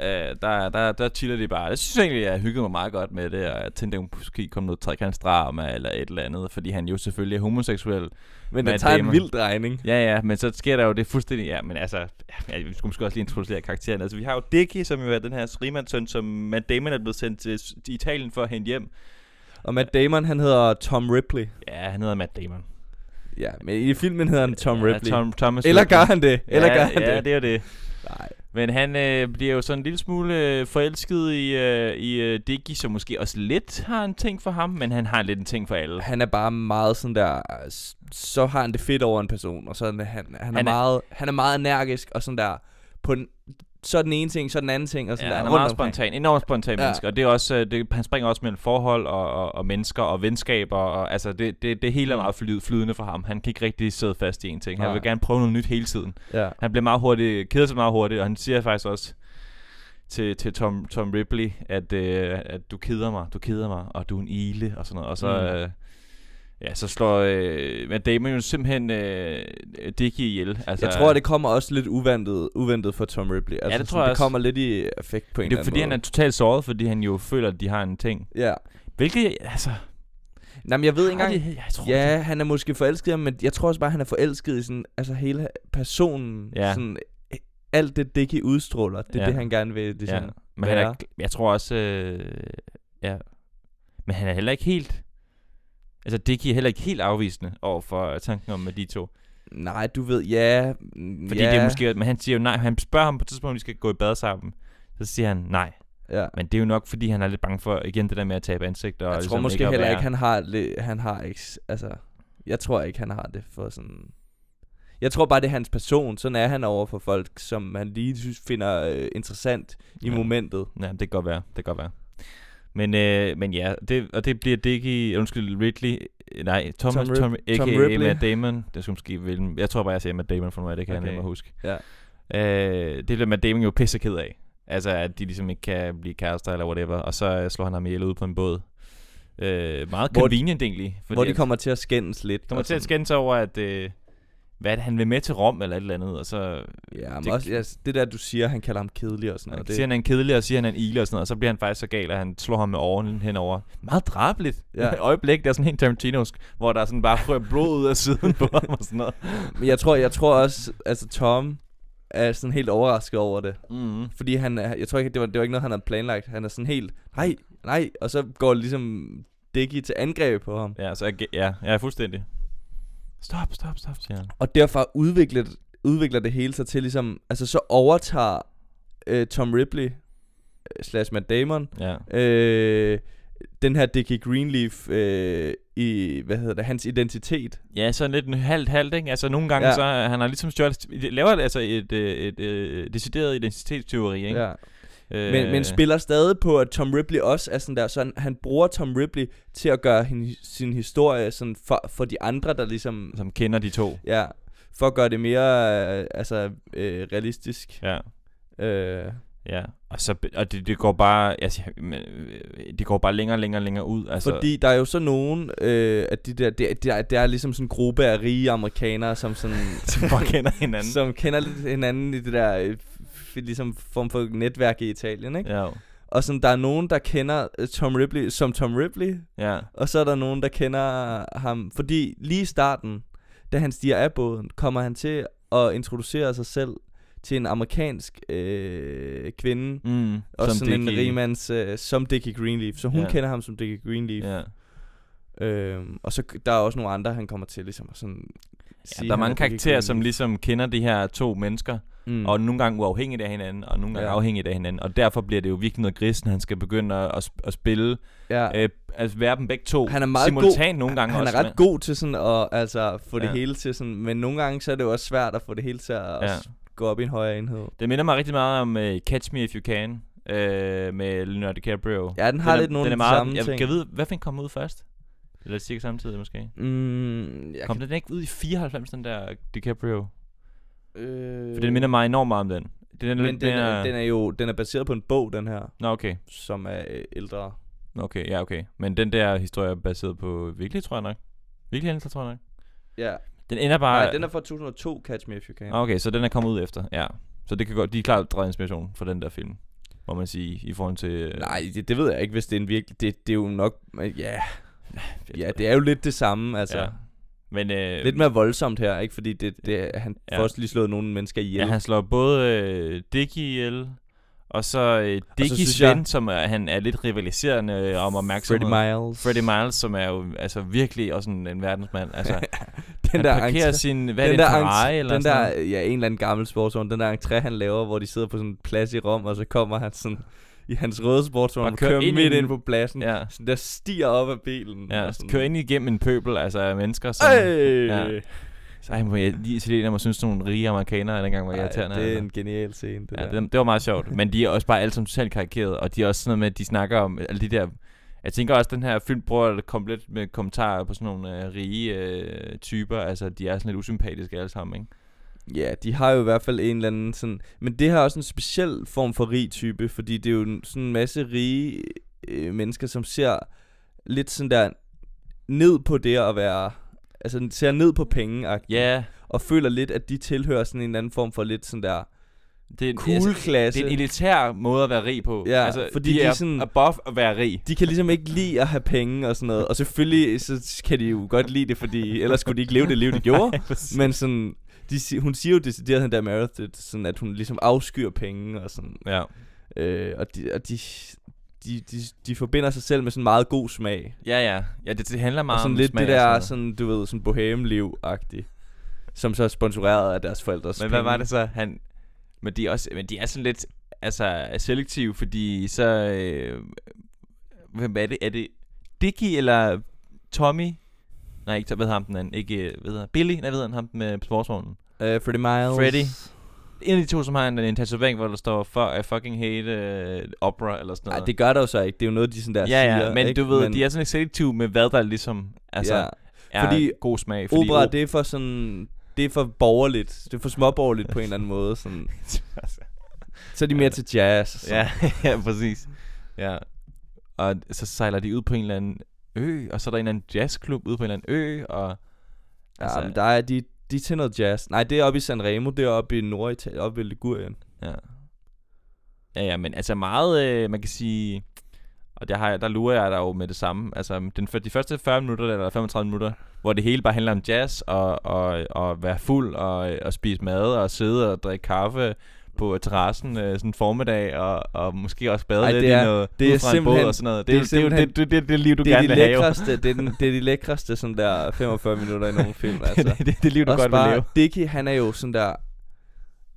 Speaker 1: Øh, der, der, der chiller de bare. Jeg synes egentlig, jeg hyggede mig meget godt med det, og jeg tænkte, at måske kom noget trekantsdrama eller et eller andet, fordi han jo selvfølgelig er homoseksuel.
Speaker 2: men den
Speaker 1: Matt
Speaker 2: tager en
Speaker 1: Damon.
Speaker 2: vild drejning.
Speaker 1: Ja, ja, men så sker der jo det fuldstændig... Ja, men altså, ja, vi skulle måske også lige introducere karakteren. Altså, vi har jo Dickie, som jo er den her rigmandssøn, som Matt Damon er blevet sendt til, til Italien for at hente hjem.
Speaker 2: Og Matt Damon, han hedder Tom Ripley.
Speaker 1: Ja, han hedder Matt Damon.
Speaker 2: Ja, men i filmen hedder han Tom Ripley.
Speaker 1: Ja, Tom, Thomas
Speaker 2: Eller
Speaker 1: Ripley.
Speaker 2: gør han det? Eller
Speaker 1: ja,
Speaker 2: gør han
Speaker 1: ja,
Speaker 2: det?
Speaker 1: det er jo det.
Speaker 2: Nej.
Speaker 1: Men han øh, bliver jo sådan en lille smule øh, forelsket i, øh, i øh, Diggy, som måske også lidt har en ting for ham, men han har lidt en ting for alle.
Speaker 2: Han er bare meget sådan der, s- så har han det fedt over en person, og så er han, han, han, er,
Speaker 1: er-
Speaker 2: meget, han er meget energisk, og sådan der, på den, så den ene ting, så den anden ting, og sådan
Speaker 1: Ja,
Speaker 2: der.
Speaker 1: han er
Speaker 2: rundt
Speaker 1: meget
Speaker 2: omkring.
Speaker 1: spontan, enormt spontan
Speaker 2: Ja.
Speaker 1: ja. menneske, og det er også, øh, det, han springer også mellem forhold og, og, og mennesker og venskaber, og altså det, det, det hele er meget flyd, flydende for ham. Han kan ikke rigtig sidde fast i en ting.
Speaker 2: Mm.
Speaker 1: Han
Speaker 2: Nej.
Speaker 1: vil gerne prøve noget nyt hele tiden.
Speaker 2: Ja.
Speaker 1: Han bliver meget hurtigt, keder sig meget hurtigt, og han siger faktisk også til, til Tom, Tom Ripley, at, øh, at du keder mig, du keder mig, og du er en ile, og sådan noget. Og så,
Speaker 2: Mm.
Speaker 1: mm. øh, ja, så slår øh, Matt Damon jo simpelthen øh, Dickie ihjel. Altså,
Speaker 2: Jeg tror, det kommer også lidt uventet, uventet for Tom Ripley. Altså,
Speaker 1: det tror
Speaker 2: sådan,
Speaker 1: jeg
Speaker 2: det
Speaker 1: også.
Speaker 2: kommer lidt i effekt på en
Speaker 1: det er
Speaker 2: eller
Speaker 1: fordi, han er
Speaker 2: anden
Speaker 1: totalt såret, fordi han jo føler, at de har en ting.
Speaker 2: måde. Ja.
Speaker 1: Hvilket, altså...
Speaker 2: Nej, men jeg ved ikke
Speaker 1: har
Speaker 2: engang...
Speaker 1: De, jeg tror,
Speaker 2: Ja, han er måske forelsket, i ham, men jeg tror også bare, han er forelsket i sådan, altså hele personen.
Speaker 1: Ja.
Speaker 2: Sådan, øh, alt det Dickie udstråler, det er
Speaker 1: Ja.
Speaker 2: det, han gerne vil. Det
Speaker 1: det, ja.
Speaker 2: sådan.
Speaker 1: Men han er,
Speaker 2: være.
Speaker 1: jeg tror også... Øh, ja. Men han er heller ikke helt... Altså, Dickie er heller ikke helt afvisende over for øh, tanken om, at de to...
Speaker 2: Nej, du ved, ja. mm,
Speaker 1: Fordi
Speaker 2: ja,
Speaker 1: det er måske, men han siger jo nej. Han spørger ham på et tidspunkt, om de skal gå i bad sammen. Så siger han nej.
Speaker 2: Ja.
Speaker 1: Men det er jo nok, fordi han er lidt bange for, igen, det der med at tabe ansigt. Og
Speaker 2: Jeg tror
Speaker 1: ligesom
Speaker 2: måske
Speaker 1: ikke at
Speaker 2: heller
Speaker 1: være-
Speaker 2: ikke, han har, le- han har ikke, s- altså, jeg tror ikke, han har det for sådan, jeg tror bare, det er hans person, sådan er han over for folk, som han lige synes finder øh, interessant i
Speaker 1: Ja.
Speaker 2: momentet.
Speaker 1: Ja, det kan godt være. Det kan godt være. Men, øh, men ja, det, og det bliver Dickie, undskyld, Ridley Øh, Nej, Tom,
Speaker 2: Tom
Speaker 1: Tom,
Speaker 2: Rip-
Speaker 1: Tom a.k.a.
Speaker 2: Tom Ripley.
Speaker 1: Matt Damon. Jeg skulle måske vælge... Jeg tror bare, jeg siger Matt Damon for noget af det, kan okay.
Speaker 2: Okay.
Speaker 1: jeg nemmere huske.
Speaker 2: Ja.
Speaker 1: Øh, det bliver Matt Damon jo pisse ked af. Altså, at de ligesom ikke kan blive kærester eller whatever. Og så øh, slår han ham ihjel ude på en båd. Øh, meget
Speaker 2: Hvor de-
Speaker 1: convenient egentlig. Fordi
Speaker 2: Hvor de
Speaker 1: at-
Speaker 2: kommer til at skændes lidt.
Speaker 1: kommer
Speaker 2: og
Speaker 1: til at
Speaker 2: sådan.
Speaker 1: skændes over, at... Øh, hvad er det, han vil med til Rom eller et eller andet, og så
Speaker 2: Ja, men
Speaker 1: Det-
Speaker 2: det, også, ja, det der, du siger, han kalder ham kedelig og sådan
Speaker 1: og
Speaker 2: noget.
Speaker 1: det... siger han, han er kedelig, og siger han, han er en ile og sådan noget, og så bliver han faktisk så gal, at han slår ham med ovnen henover. Meget drabeligt. Ja.
Speaker 2: Ja.
Speaker 1: øjeblik, der er sådan helt Tarantinosk, hvor der sådan bare frø blod ud af siden på ham og sådan noget.
Speaker 2: Men jeg tror, jeg tror også, altså Tom er sådan helt overrasket over det.
Speaker 1: Mm.
Speaker 2: Fordi han, er- jeg tror ikke, det var, det var ikke noget, han havde planlagt. Han er sådan helt, nej, nej. Og så går ligesom Dickie til angreb på ham.
Speaker 1: Ja, så jeg, ja, jeg er fuldstændig. Stop, stop, stop, siger han.
Speaker 2: Og derfor udvikler, udvikler det hele sig til ligesom, altså så overtager øh, Tom Ripley øh, slash Matt Damon
Speaker 1: Ja.
Speaker 2: øh, den her Dickie Greenleaf øh, i, hvad hedder det, hans identitet.
Speaker 1: Ja, sådan lidt en halvt halvt, ikke? Altså nogle gange, ja.
Speaker 2: Ja.
Speaker 1: så øh, han har ligesom stjålet, laver altså et, øh, et, et decideret identitetsteori, ikke?
Speaker 2: Ja.
Speaker 1: Øh,
Speaker 2: Men, men spiller stadig på, at Tom Ripley også er sådan der, så han, han bruger Tom Ripley til at gøre hende, sin historie sådan for, for de andre, der ligesom,
Speaker 1: Som kender de to.
Speaker 2: ja, for at gøre det mere, øh, altså, øh, realistisk.
Speaker 1: Ja.
Speaker 2: Øh,
Speaker 1: Ja, og, så, og det, det går bare altså, men, øh, det går bare længere og længere og længere ud. Altså,
Speaker 2: Fordi der er jo så nogen, øh, at de der, det, det, er, det er ligesom sådan en gruppe af rige amerikanere, som sådan...
Speaker 1: som bare kender hinanden. Så,
Speaker 2: som kender lidt hinanden i det der øh, f- ligesom form for netværk i Italien, ikke?
Speaker 1: ja,
Speaker 2: Og sådan, der er nogen, der kender øh, Tom Ripley som Tom Ripley,
Speaker 1: ja,
Speaker 2: og så er der nogen, der kender ham. Fordi lige i starten, da han stiger af båden, kommer han til at introducere sig selv til en amerikansk øh, kvinde,
Speaker 1: mm,
Speaker 2: og som sådan en
Speaker 1: Dickie.
Speaker 2: rimands, øh, som Dickie Greenleaf. Så hun
Speaker 1: Ja.
Speaker 2: ja. kender ham som Dickie Greenleaf.
Speaker 1: Ja.
Speaker 2: Øhm, og så der er også nogle andre, han kommer til ligesom at sådan
Speaker 1: Ja, der er
Speaker 2: han
Speaker 1: mange
Speaker 2: Dickie
Speaker 1: karakterer, som
Speaker 2: Greenleaf.
Speaker 1: ligesom kender de her to mennesker,
Speaker 2: Mm.
Speaker 1: mm. og nogle gange uafhængigt af hinanden, og nogle gange ja.
Speaker 2: Ja.
Speaker 1: afhængigt af hinanden, og derfor bliver det jo virkelig noget grisen, han skal begynde at, at, sp- at spille,
Speaker 2: ja.
Speaker 1: ja. øh, altså være dem begge to
Speaker 2: Han er meget
Speaker 1: simultant nogle gange
Speaker 2: han
Speaker 1: også.
Speaker 2: er ret god til sådan at altså, få det
Speaker 1: Ja.
Speaker 2: hele til sådan, men nogle gange så er det jo også svært at få det hele til at
Speaker 1: Ja.
Speaker 2: ja. gå op i en højere enhed.
Speaker 1: Det minder mig rigtig meget om uh, Catch Me If You Can, uh, med Leonardo DiCaprio.
Speaker 2: Ja, den har
Speaker 1: er-
Speaker 2: lidt nogle
Speaker 1: den er
Speaker 2: af de
Speaker 1: meget,
Speaker 2: samme
Speaker 1: jeg,
Speaker 2: ting.
Speaker 1: Kan vide, hvad fik kom ud først? Eller cirka samtidig måske?
Speaker 2: Mm, jeg
Speaker 1: Kom
Speaker 2: kan,
Speaker 1: den ikke ud i 94, den der DiCaprio?
Speaker 2: øh,
Speaker 1: For den minder mig enormt meget om den. Den er
Speaker 2: men
Speaker 1: lidt
Speaker 2: den, er,
Speaker 1: mere...
Speaker 2: den er jo den er baseret på en bog, den her,
Speaker 1: Nå, okay.
Speaker 2: som er øh, ældre.
Speaker 1: Okay, ja, okay. Men den der historie er baseret på virkelig, tror jeg nok. Virkelig hændelser, tror jeg nok.
Speaker 2: Ja.
Speaker 1: Den ender bare...
Speaker 2: Nej, den er fra 2002, Catch Me If You Can.
Speaker 1: Nå, Okay, så den er kommet ud efter, ja. Så det kan godt... De er klart drejet inspiration fra den der film. Må man sige, i forhold til...
Speaker 2: Nej, det, det ved jeg ikke, hvis det er en virkelig... Det, det er jo nok... Ja, ja, det er jo lidt det samme, altså.
Speaker 1: Ja.
Speaker 2: Ja.
Speaker 1: Men... Øh,
Speaker 2: Lidt mere voldsomt her, ikke? Fordi det, det, han
Speaker 1: Ja.
Speaker 2: ja. får også lige slået nogle mennesker ihjel.
Speaker 1: Ja, han slår både øh, Dickie ihjel, og så øh, Dickies
Speaker 2: synes
Speaker 1: ven,
Speaker 2: jeg-
Speaker 1: jeg... som er, han er lidt rivaliserende øh, om opmærksomhed.
Speaker 2: Freddie Miles.
Speaker 1: Freddie Miles, som er jo altså virkelig også en, en verdensmand. Altså, han
Speaker 2: den der
Speaker 1: parkerer
Speaker 2: entré,
Speaker 1: sin, hvad er
Speaker 2: den
Speaker 1: det,
Speaker 2: der,
Speaker 1: en Ferrari
Speaker 2: entré-
Speaker 1: eller
Speaker 2: den
Speaker 1: sådan
Speaker 2: der,
Speaker 1: noget?
Speaker 2: ja, en eller anden gammel sportsvogn, den der entré, han laver, hvor de sidder på sådan en plads i Rom, og så kommer han sådan i hans røde sportsvogn,
Speaker 1: Og
Speaker 2: og
Speaker 1: kører
Speaker 2: kører
Speaker 1: ind i
Speaker 2: midt
Speaker 1: den.
Speaker 2: ind på pladsen, ja.
Speaker 1: Ja,
Speaker 2: sådan der stiger op af bilen.
Speaker 1: ja
Speaker 2: og sådan,
Speaker 1: kører ind igennem en pøbel, altså af mennesker, som...
Speaker 2: Øj!
Speaker 1: Ja. Så ej, må jeg lige italiener må synes, nogle rige amerikanere dengang var
Speaker 2: Ej,
Speaker 1: irriterende.
Speaker 2: det er
Speaker 1: altså.
Speaker 2: en genial scene, det
Speaker 1: ja,
Speaker 2: der.
Speaker 1: det, det, var meget sjovt. Men de er også bare alle som totalt karikeret, og de er også sådan noget med, at de snakker om alle de der... Jeg tænker også, at den her film bruger det komplet med kommentarer på sådan nogle øh, rige øh, typer. Altså, de er sådan lidt usympatiske alle sammen, ikke?
Speaker 2: Ja, de har jo i hvert fald en eller anden sådan... Men det her er også en speciel form for rig type, fordi det er jo en- sådan en masse rige øh, mennesker, som ser lidt sådan der ned på det at være... Altså, ser ned på penge
Speaker 1: Ja,
Speaker 2: og føler lidt, at de tilhører sådan en eller anden form for lidt sådan der
Speaker 1: det, er- altså,
Speaker 2: cool klasse.
Speaker 1: Det er en elitær måde at være rig på.
Speaker 2: Ja,
Speaker 1: altså,
Speaker 2: fordi
Speaker 1: de,
Speaker 2: de
Speaker 1: er
Speaker 2: er sådan-
Speaker 1: above at være rig.
Speaker 2: de kan ligesom ikke lide at have penge og sådan noget. Og selvfølgelig så kan de jo godt lide det, fordi ellers kunne de ikke leve det liv, de gjorde. Men sådan, de, si- hun siger jo decideret, hende der Meredith, sådan at hun ligesom afskyr penge og sådan.
Speaker 1: Ja.
Speaker 2: Øh, og de, og de, de, de, de forbinder sig selv med sådan meget god smag.
Speaker 1: Ja, ja. Ja, det, det handler meget
Speaker 2: og sådan
Speaker 1: om
Speaker 2: lidt
Speaker 1: smag
Speaker 2: det
Speaker 1: og
Speaker 2: der,
Speaker 1: sådan
Speaker 2: sådan, du ved, sådan bohemeliv-agtigt. Som så er sponsoreret af deres forældres
Speaker 1: noget. Men hvad
Speaker 2: penge.
Speaker 1: var det så? Han, men, de er også, men de er sådan lidt altså, selektive, fordi så... Øh, hvem er det? Er det Dicky eller Tommy? Nej, ikke, Tom- hvad hedder ham den anden? Ikke, øh, hvad hedder Billy? Nej, hvad hedder han ham med sportsvognen?
Speaker 2: Øh, Freddie Miles.
Speaker 1: Freddie. En af de to, som har en, en tatovering, hvor der står, for, I fucking hate uh, opera, eller sådan noget.
Speaker 2: Nej, det gør der jo så ikke. Det er jo noget, de sådan der
Speaker 1: ja, ja,
Speaker 2: siger,
Speaker 1: men
Speaker 2: ikke?
Speaker 1: du ved, men... de er sådan lidt selektive med, hvad der ligesom, altså, ja.
Speaker 2: er
Speaker 3: fordi
Speaker 2: fordi
Speaker 3: god smag. Fordi
Speaker 2: opera,
Speaker 3: op-
Speaker 2: det er for sådan... Det er for borgerligt. Det er for småborgerligt på en eller anden måde. Sådan. Så er de mere til jazz. og sådan.
Speaker 1: Ja, ja, præcis. Ja. Og så sejler de ud på en eller anden ø, og så er der en eller anden jazzklub ude på en eller anden ø, og...
Speaker 2: Ja,
Speaker 1: altså-
Speaker 2: altså, men der er de, de er til noget jazz. Nej, det er oppe i Sanremo, det er oppe i Norditalien, oppe ved Ligurien.
Speaker 1: Ja. Ja, ja, men altså meget, øh, man kan sige... Og der, har jeg, der lurer jeg dig jo med det samme. Altså, den, fyr- de første 40 minutter, eller 35 minutter, hvor det hele bare handler om jazz, og, og, og være fuld, og, og spise mad, og sidde og drikke kaffe på terrassen øh, sådan en formiddag, og, og måske også bade
Speaker 2: Ej,
Speaker 1: lidt
Speaker 2: det er-
Speaker 1: i noget
Speaker 2: det
Speaker 1: ud
Speaker 2: er
Speaker 1: fra en båd
Speaker 2: simpelthen-
Speaker 1: og sådan noget.
Speaker 2: det er
Speaker 1: jo- det, er jo
Speaker 2: simpelthen-
Speaker 1: det, det, det, det liv, du
Speaker 2: det, er
Speaker 1: gerne
Speaker 2: de
Speaker 1: vil have. jo.
Speaker 2: lækreste, det, er den, det er de lækreste sådan der 45 minutter i nogle film. Altså.
Speaker 1: det, det, det liv, du
Speaker 2: Også
Speaker 1: godt vil
Speaker 2: bare,
Speaker 1: leve.
Speaker 2: Dicky, han er jo sådan der...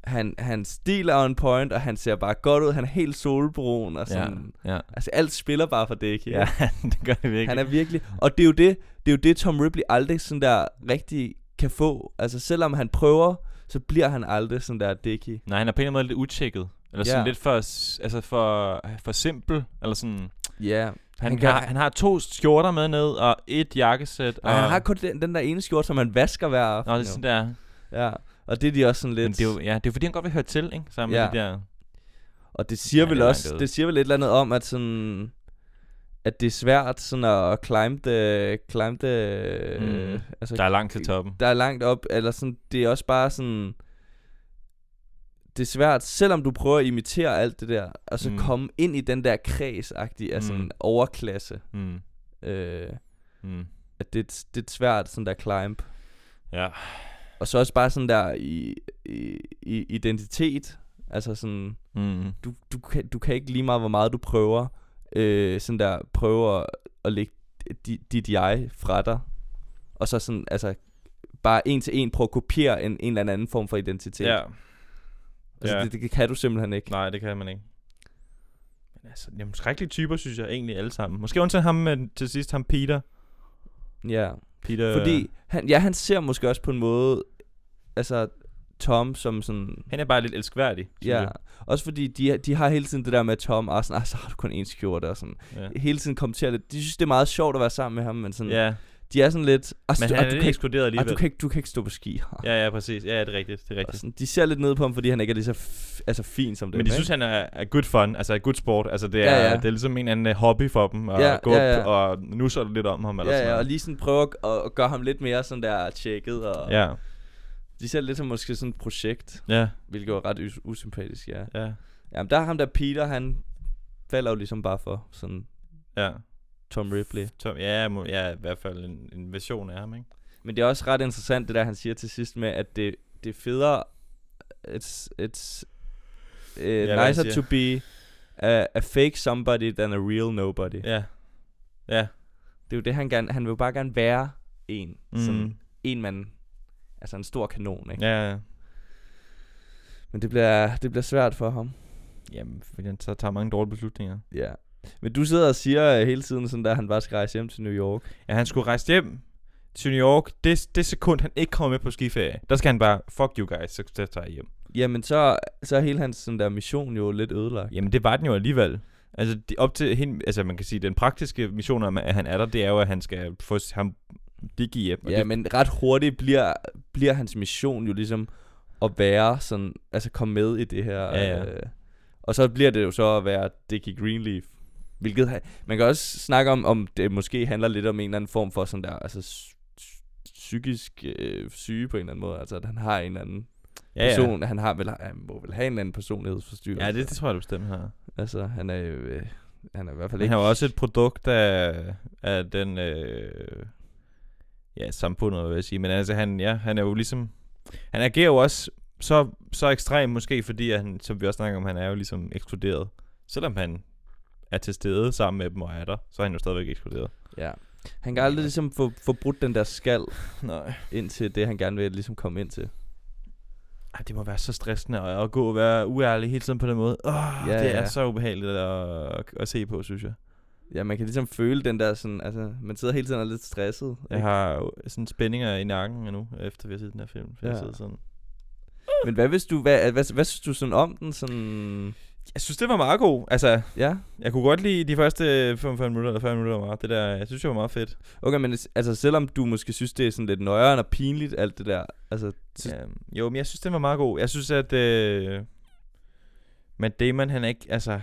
Speaker 2: Han, hans stil er on point, og han ser bare godt ud. Han er helt solbrun og sådan... Ja.
Speaker 1: ja,
Speaker 2: Altså, alt spiller bare for Dicky.
Speaker 1: ja. ja det gør det virkelig.
Speaker 2: Han er virkelig... Og det er jo det, det, er jo det Tom Ripley aldrig sådan der rigtig kan få. Altså, selvom han prøver, så bliver han aldrig sådan der Dicky.
Speaker 1: Nej, han er på en eller anden måde lidt utjekket. Eller sådan
Speaker 2: Ja.
Speaker 1: lidt for, s- altså for, for simpel. Eller sådan. Han,
Speaker 2: Ja.
Speaker 1: han,
Speaker 2: kan-
Speaker 1: har, han har to skjorter med ned, og et jakkesæt.
Speaker 2: Og
Speaker 1: og,
Speaker 2: han har kun den, den der ene skjorte, som han vasker hver aften.
Speaker 1: Nå, det er sådan der.
Speaker 2: jo. Ja. Og det er de også sådan lidt...
Speaker 1: Men det er jo, ja, det er jo fordi, han godt vil høre til, ikke? Sammen
Speaker 2: Ja.
Speaker 1: med de der...
Speaker 2: Og det siger
Speaker 1: Ja,
Speaker 2: ja,
Speaker 1: det
Speaker 2: vel
Speaker 1: er
Speaker 2: også,
Speaker 1: langt ude.
Speaker 2: det siger vel et eller andet om, at sådan, at det er svært sådan at climb the, climb the,
Speaker 1: Mm.
Speaker 2: mm. altså,
Speaker 1: Der
Speaker 2: der.
Speaker 1: er langt til toppen.
Speaker 2: der er langt op, eller sådan, det er også bare sådan, det er svært, selvom du prøver at imitere alt det der, og så
Speaker 1: Mm.
Speaker 2: mm. komme ind i den der kreds-agtige, altså
Speaker 1: Mm.
Speaker 2: mm. en overklasse,
Speaker 1: Mm.
Speaker 2: øh,
Speaker 1: Mm.
Speaker 2: at det, er et- det er et svært sådan der climb.
Speaker 1: Ja.
Speaker 2: Og så også bare sådan der i, i, i identitet, altså sådan,
Speaker 1: Mm.
Speaker 2: du, du, kan, du kan ikke lige meget, hvor meget du prøver, øh, sådan der, prøve at, at lægge di, dit jeg fra dig, og så sådan, altså, bare en til en prøve at kopiere en, en eller anden form for identitet.
Speaker 1: Ja.
Speaker 2: altså,
Speaker 1: ja.
Speaker 2: det, det kan du simpelthen ikke.
Speaker 1: Nej, det kan man ikke. Men altså, jamen, skrækkelige typer, synes jeg egentlig alle sammen. Måske undtagen ham med, til sidst, ham Peter.
Speaker 2: Ja.
Speaker 1: Peter...
Speaker 2: Fordi, han, ja, han ser måske også på en måde, altså, Tom som sådan...
Speaker 1: Han er bare lidt elskværdig, synes
Speaker 2: Ja,
Speaker 1: jeg.
Speaker 2: også fordi de, de har hele tiden det der med at Tom og sådan, "Ah, så har du kun én skjorte og sådan.
Speaker 1: Ja.
Speaker 2: Hele tiden kommenterer det. De synes, det er meget sjovt at være sammen med ham, men sådan,
Speaker 1: ja.
Speaker 2: de er sådan lidt... "Ah,
Speaker 1: Men
Speaker 2: du-
Speaker 1: han
Speaker 2: ah,
Speaker 1: er
Speaker 2: du
Speaker 1: lidt
Speaker 2: kan ikke
Speaker 1: ekskluderet
Speaker 2: Ej, du
Speaker 1: alligevel.
Speaker 2: kan, ikke, du kan ikke stå på ski. Ja,
Speaker 1: Ja, ja, præcis. Ja, det er rigtigt. Det er rigtigt.
Speaker 2: sådan, de ser lidt ned på ham, fordi han ikke er lige så f- altså fin som dem.
Speaker 1: Men de synes, han er, er good fun, altså er good sport. Altså det er, ja,
Speaker 2: Ja,
Speaker 1: ja.
Speaker 2: ja.
Speaker 1: det er ligesom en eller anden øh, hobby for dem at ja,
Speaker 2: Ja,
Speaker 1: gå ja,
Speaker 2: ja,
Speaker 1: ja.
Speaker 2: ja.
Speaker 1: Op, og nu så lidt om ham eller
Speaker 2: ja,
Speaker 1: sådan
Speaker 2: ja, og
Speaker 1: noget.
Speaker 2: lige sådan prøver at, at gøre ham lidt mere sådan der tjekket. Og
Speaker 1: Ja,
Speaker 2: De ser det lidt som måske sådan et projekt,
Speaker 1: ja,
Speaker 2: hvilket er ret us- usympatisk, ja.
Speaker 1: ja,
Speaker 2: Jamen, der er ham der Peter, han falder jo ligesom bare for sådan
Speaker 1: ja.
Speaker 2: Tom Ripley.
Speaker 1: Tom, ja, må, ja, i hvert fald en, en version af ham, ikke?
Speaker 2: Men det er også ret interessant, det der han siger til sidst med, at det, det er federe, it's, it's uh,
Speaker 1: hvad han
Speaker 2: nicer
Speaker 1: siger.
Speaker 2: to be a, a fake somebody than a real nobody.
Speaker 1: Ja, ja.
Speaker 2: Det er jo det, han gerne... Han vil jo bare gerne være en.
Speaker 1: Mm.
Speaker 2: Mm. Sådan en mand. Altså en stor kanon, ikke? Ja.
Speaker 1: Ja, ja.
Speaker 2: Men det bliver, det bliver svært for ham.
Speaker 1: Jamen, fordi han så tager mange dårlige beslutninger.
Speaker 2: Ja. Men du sidder og siger øh, hele tiden sådan der, at han bare skal rejse hjem til New York.
Speaker 1: Ja, han skulle rejse hjem til New York. Det, det sekund, han ikke kommer med på skiferie, der skal han bare, fuck you guys, så, så tager jeg hjem.
Speaker 2: Jamen så, så er hele hans sådan der mission jo lidt ødelagt.
Speaker 1: Jamen, det var den jo alligevel. Altså, det, op til hende, altså man kan sige, den praktiske mission om, at han er der, det er jo, at han skal få s- ham Diggy hjem. og
Speaker 2: Ja,
Speaker 1: det-
Speaker 2: men ret hurtigt bliver, bliver hans mission jo ligesom at være sådan, altså komme med i det her.
Speaker 1: Ja, ja.
Speaker 2: Øh, og så bliver det jo så at være Dickie Greenleaf. Hvilket, ha- man kan også snakke om, om det måske handler lidt om en eller anden form for sådan der, altså s- s- psykisk øh, syge på en eller anden måde. Altså at han har en eller anden
Speaker 1: ja, ja.
Speaker 2: person, han har vel, han må vel have en eller anden personlighedsforstyrrelse.
Speaker 1: Ja, det, det tror jeg, du bestemt har.
Speaker 2: Altså han er jo, øh, han er i hvert fald
Speaker 1: Men
Speaker 2: ikke...
Speaker 1: han er jo også et produkt af, af den... Øh, ja, samfundet, vil jeg sige. Men altså, han, ja, han er jo ligesom... Han agerer jo også så, så ekstrem måske, fordi han, som vi også snakker om, han er jo ligesom ekskluderet. Selvom han er til stede sammen med dem og er der, så er han jo stadigvæk ekskluderet.
Speaker 2: Ja. Han kan aldrig ligesom få, få brudt den der skal
Speaker 1: Nej.
Speaker 2: ind til det, han gerne vil ligesom komme ind til.
Speaker 1: Ej, det må være så stressende at, at gå og være uærlig hele tiden på den måde. Oh, ja,
Speaker 2: Ja,
Speaker 1: det ja. er
Speaker 2: ja.
Speaker 1: så ubehageligt at, at se på, synes jeg.
Speaker 2: Ja, man kan ligesom føle den der sådan, altså, man sidder hele tiden og er lidt stresset.
Speaker 1: Jeg
Speaker 2: ikke?
Speaker 1: har jo sådan spændinger i nakken nu, efter vi har set den her film. Ja. Jeg
Speaker 2: Ja.
Speaker 1: sidder sådan.
Speaker 2: Men hvad hvis du, hvad, hvad, hvad, synes du sådan om den sådan...
Speaker 1: Jeg synes, det var meget god. Altså,
Speaker 2: Ja.
Speaker 1: jeg kunne godt lide de første 45 minutter eller 40 minutter meget. Det der, jeg synes, det var meget fedt.
Speaker 2: Okay, men det- altså selvom du måske synes, det er sådan lidt nøjeren og pinligt, alt det der, altså... Synes-
Speaker 1: Ja, Øhm, jo, men jeg synes, det var meget god. Jeg synes, at... Øh, Matt Damon, han er ikke... Altså...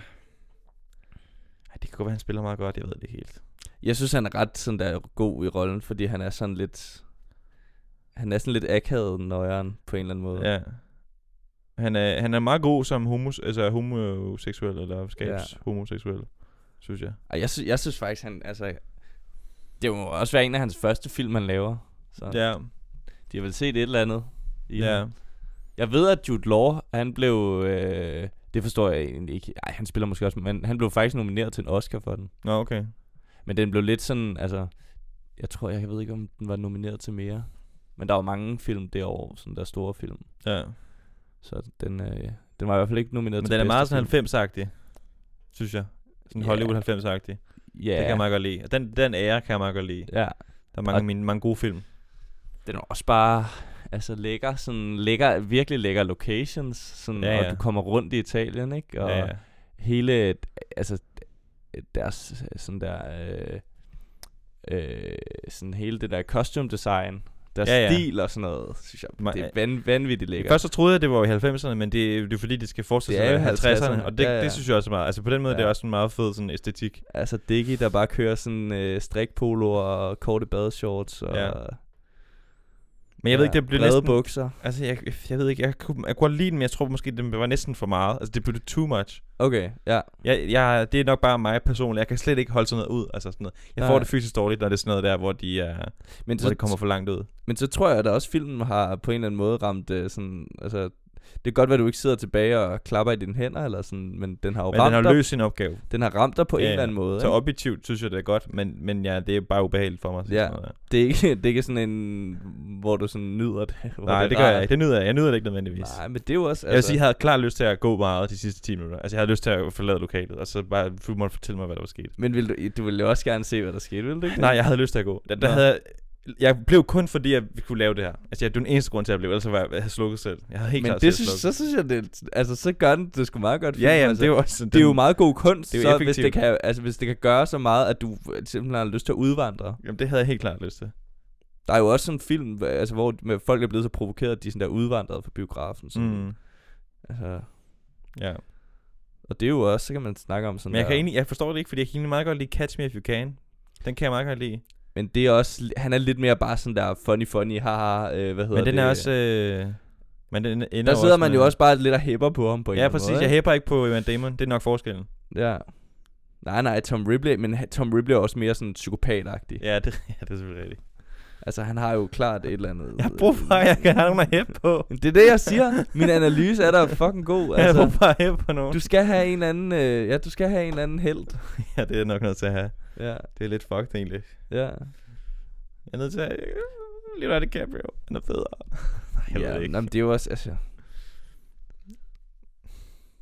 Speaker 1: Ej, det kan godt være, han spiller meget godt. Jeg ved det ikke helt.
Speaker 2: Jeg synes, han er ret sådan der god i rollen, fordi han er sådan lidt... Han er sådan lidt akavet nøjeren på en eller anden måde.
Speaker 1: Ja. Han er, han er meget god som homos, altså homoseksuel, eller skabs ja. homoseksuel, synes jeg.
Speaker 2: Og jeg, sy- jeg synes faktisk, han... Altså, det må også være en af hans første film, han laver. Så ja.
Speaker 1: Ja,
Speaker 4: De har vel set et eller andet. i
Speaker 1: ja.
Speaker 4: ham. Jeg ved, at Jude Law, han blev... Øh, det forstår jeg egentlig ikke. Ej, han spiller måske også, men han blev faktisk nomineret til en Oscar for den.
Speaker 1: Nå, okay.
Speaker 4: Men den blev lidt sådan, altså... Jeg tror, jeg ved ikke, om den var nomineret til mere. Men der var mange film det år, sådan der store film.
Speaker 1: Ja.
Speaker 4: Så den, øh, den var i hvert fald ikke nomineret
Speaker 1: Men
Speaker 4: til
Speaker 1: den er meget
Speaker 4: bedste
Speaker 1: sådan
Speaker 4: film.
Speaker 1: 90-agtig, synes jeg. Sådan
Speaker 4: Ja.
Speaker 1: Hollywood 90-agtig.
Speaker 4: Ja,
Speaker 1: Det kan jeg meget godt lide. Og den, den ære kan jeg meget godt lide.
Speaker 4: ja.
Speaker 1: Der er mange,
Speaker 4: Og-
Speaker 1: mine, mange gode film.
Speaker 4: Den er også bare altså lækker, sådan lækker, virkelig lækker locations, sådan,
Speaker 1: Ja,
Speaker 4: ja, ja.
Speaker 1: ja.
Speaker 4: og du kommer rundt i Italien, ikke? Og
Speaker 1: Ja, ja.
Speaker 4: hele, øh, altså, øh, deres, øh, sådan der, øh, øh, sådan hele det der costume design, deres
Speaker 1: Ja,
Speaker 4: ja,
Speaker 1: ja.
Speaker 4: ja. stil og sådan noget, synes jeg,
Speaker 1: Ma-
Speaker 4: det er van, vanvittigt lækkert.
Speaker 1: Først så troede jeg, det var i 90'erne, men det, det er fordi, det skal fortsætte
Speaker 2: Det er
Speaker 1: sådan
Speaker 2: jo
Speaker 1: i 50'erne,
Speaker 2: 50'erne.
Speaker 1: og det, ja,
Speaker 2: Ja,
Speaker 1: ja.
Speaker 2: ja.
Speaker 1: det synes jeg også er meget. Altså på den måde, ja.
Speaker 4: Ja.
Speaker 1: det er også en meget fed sådan, æstetik.
Speaker 2: Altså Diggy, der bare kører sådan øh, strikpoloer og korte badeshorts og...
Speaker 1: Ja.
Speaker 2: Ja.
Speaker 1: Men jeg ja. ved ikke, det blev næsten...
Speaker 2: bukser.
Speaker 1: Altså jeg, jeg ved ikke, jeg kunne, jeg kunne godt lide den, men jeg tror måske, det var næsten for meget. Altså det blev too much.
Speaker 2: Okay, ja.
Speaker 1: Jeg, jeg, det er nok bare mig personligt. Jeg kan slet ikke holde sådan noget ud. Altså sådan noget. Jeg får
Speaker 2: Nej.
Speaker 1: det fysisk dårligt, når det er sådan noget der, hvor, de er,
Speaker 2: Men
Speaker 1: hvor
Speaker 2: så,
Speaker 1: det kommer for langt ud.
Speaker 2: men så tror jeg, at også filmen har på en eller anden måde ramt øh, sådan... Altså, det kan godt være, at du ikke sidder tilbage og klapper i dine hænder, eller sådan, men den har jo
Speaker 1: Men den
Speaker 2: ramt
Speaker 1: har
Speaker 2: dig.
Speaker 1: løst sin opgave.
Speaker 2: Den har ramt dig på
Speaker 1: Ja,
Speaker 2: en
Speaker 1: ja.
Speaker 2: eller anden måde.
Speaker 1: Så
Speaker 2: ikke?
Speaker 1: objektivt synes jeg, det er godt, men, men ja, det er bare ubehageligt for mig. at sige
Speaker 2: Ja.
Speaker 1: sådan noget der.
Speaker 2: Det er, ikke, det er ikke sådan en, hvor du sådan nyder det. hvor
Speaker 1: Nej,
Speaker 2: er
Speaker 1: det gør jeg
Speaker 2: rart.
Speaker 1: ikke. Det nyder jeg. Jeg nyder det ikke nødvendigvis.
Speaker 2: Nej, altså- men det er jo også...
Speaker 1: Jeg vil sige, jeg havde klart lyst til at gå meget de sidste 10 minutter. Altså, jeg havde lyst til at forlade lokalet, og så bare, du måtte fortælle mig, hvad der var sket.
Speaker 2: Men vil du, du ville jo også gerne se, hvad der skete, ville du ikke?
Speaker 1: Nej, jeg havde lyst til at gå. Der, der
Speaker 2: Nå.
Speaker 1: havde jeg, jeg blev kun fordi, jeg kunne lave det her. Altså, jeg, det var den eneste grund til, at jeg blev, ellers var jeg, jeg havde slukket selv. Jeg havde helt
Speaker 2: men
Speaker 1: klart
Speaker 2: det
Speaker 1: selv
Speaker 2: synes, så
Speaker 1: slukket.
Speaker 2: synes jeg, det, altså, så gør den det sgu meget godt.
Speaker 1: Ja, ja, men
Speaker 2: altså,
Speaker 1: det er jo også...
Speaker 2: det er jo meget god kunst,
Speaker 1: det er
Speaker 2: det
Speaker 1: jo
Speaker 2: er så hvis
Speaker 1: effektivt.
Speaker 2: det, kan, altså, hvis det kan gøre så meget, at du simpelthen har lyst til at udvandre.
Speaker 1: Jamen, det havde jeg helt klart lyst til.
Speaker 2: Der er jo også sådan en film, hva- altså, hvor med folk er blevet så provokeret, at de er sådan der udvandret fra biografen. Sådan.
Speaker 1: Mm.
Speaker 2: Altså,
Speaker 1: Ja.
Speaker 2: og det er jo også, så kan man snakke om sådan
Speaker 1: Men jeg,
Speaker 2: der.
Speaker 1: kan egentlig, jeg forstår det ikke, fordi jeg kan egentlig meget godt lide Catch Me If You Can. Den kan jeg meget godt lide.
Speaker 2: Men det er også, han er lidt mere bare sådan der funny funny, haha, øh, hvad hedder
Speaker 1: Men den
Speaker 2: det?
Speaker 1: er også... Øh, men den ender
Speaker 2: Der
Speaker 1: jo
Speaker 2: sidder
Speaker 1: også
Speaker 2: man
Speaker 1: med-
Speaker 2: jo også bare lidt og hæpper på ham på en
Speaker 1: Ja,
Speaker 2: eller anden
Speaker 1: præcis.
Speaker 2: Måde,
Speaker 1: Jeg
Speaker 2: ikke?
Speaker 1: hæpper ikke på Evan Damon. Det er nok forskellen.
Speaker 2: Ja. Nej, nej, Tom Ripley, men ha- Tom Ripley er også mere sådan psykopatagtig. Ja.
Speaker 1: Ja, det, ja, det er selvfølgelig rigtigt.
Speaker 2: Altså, han har jo klart et eller andet...
Speaker 1: Jeg har brug for, at jeg kan have nogen at hæppe på.
Speaker 2: Men Det er det, jeg siger. Min analyse er da fucking god.
Speaker 1: Jeg har brug
Speaker 2: Altså,
Speaker 1: for at hæppe på nogen.
Speaker 2: du skal have en eller anden... Øh, ja, du skal have en eller anden held.
Speaker 1: Ja, det er nok noget til at have.
Speaker 2: Ja,
Speaker 1: Det er lidt fucked egentlig.
Speaker 2: ja.
Speaker 1: Jeg er nødt til at... Leonardo DiCaprio. Han er federe. Nej, jeg ja, ved
Speaker 2: ja
Speaker 1: det ikke.
Speaker 2: Nå, men det er jo også... Altså,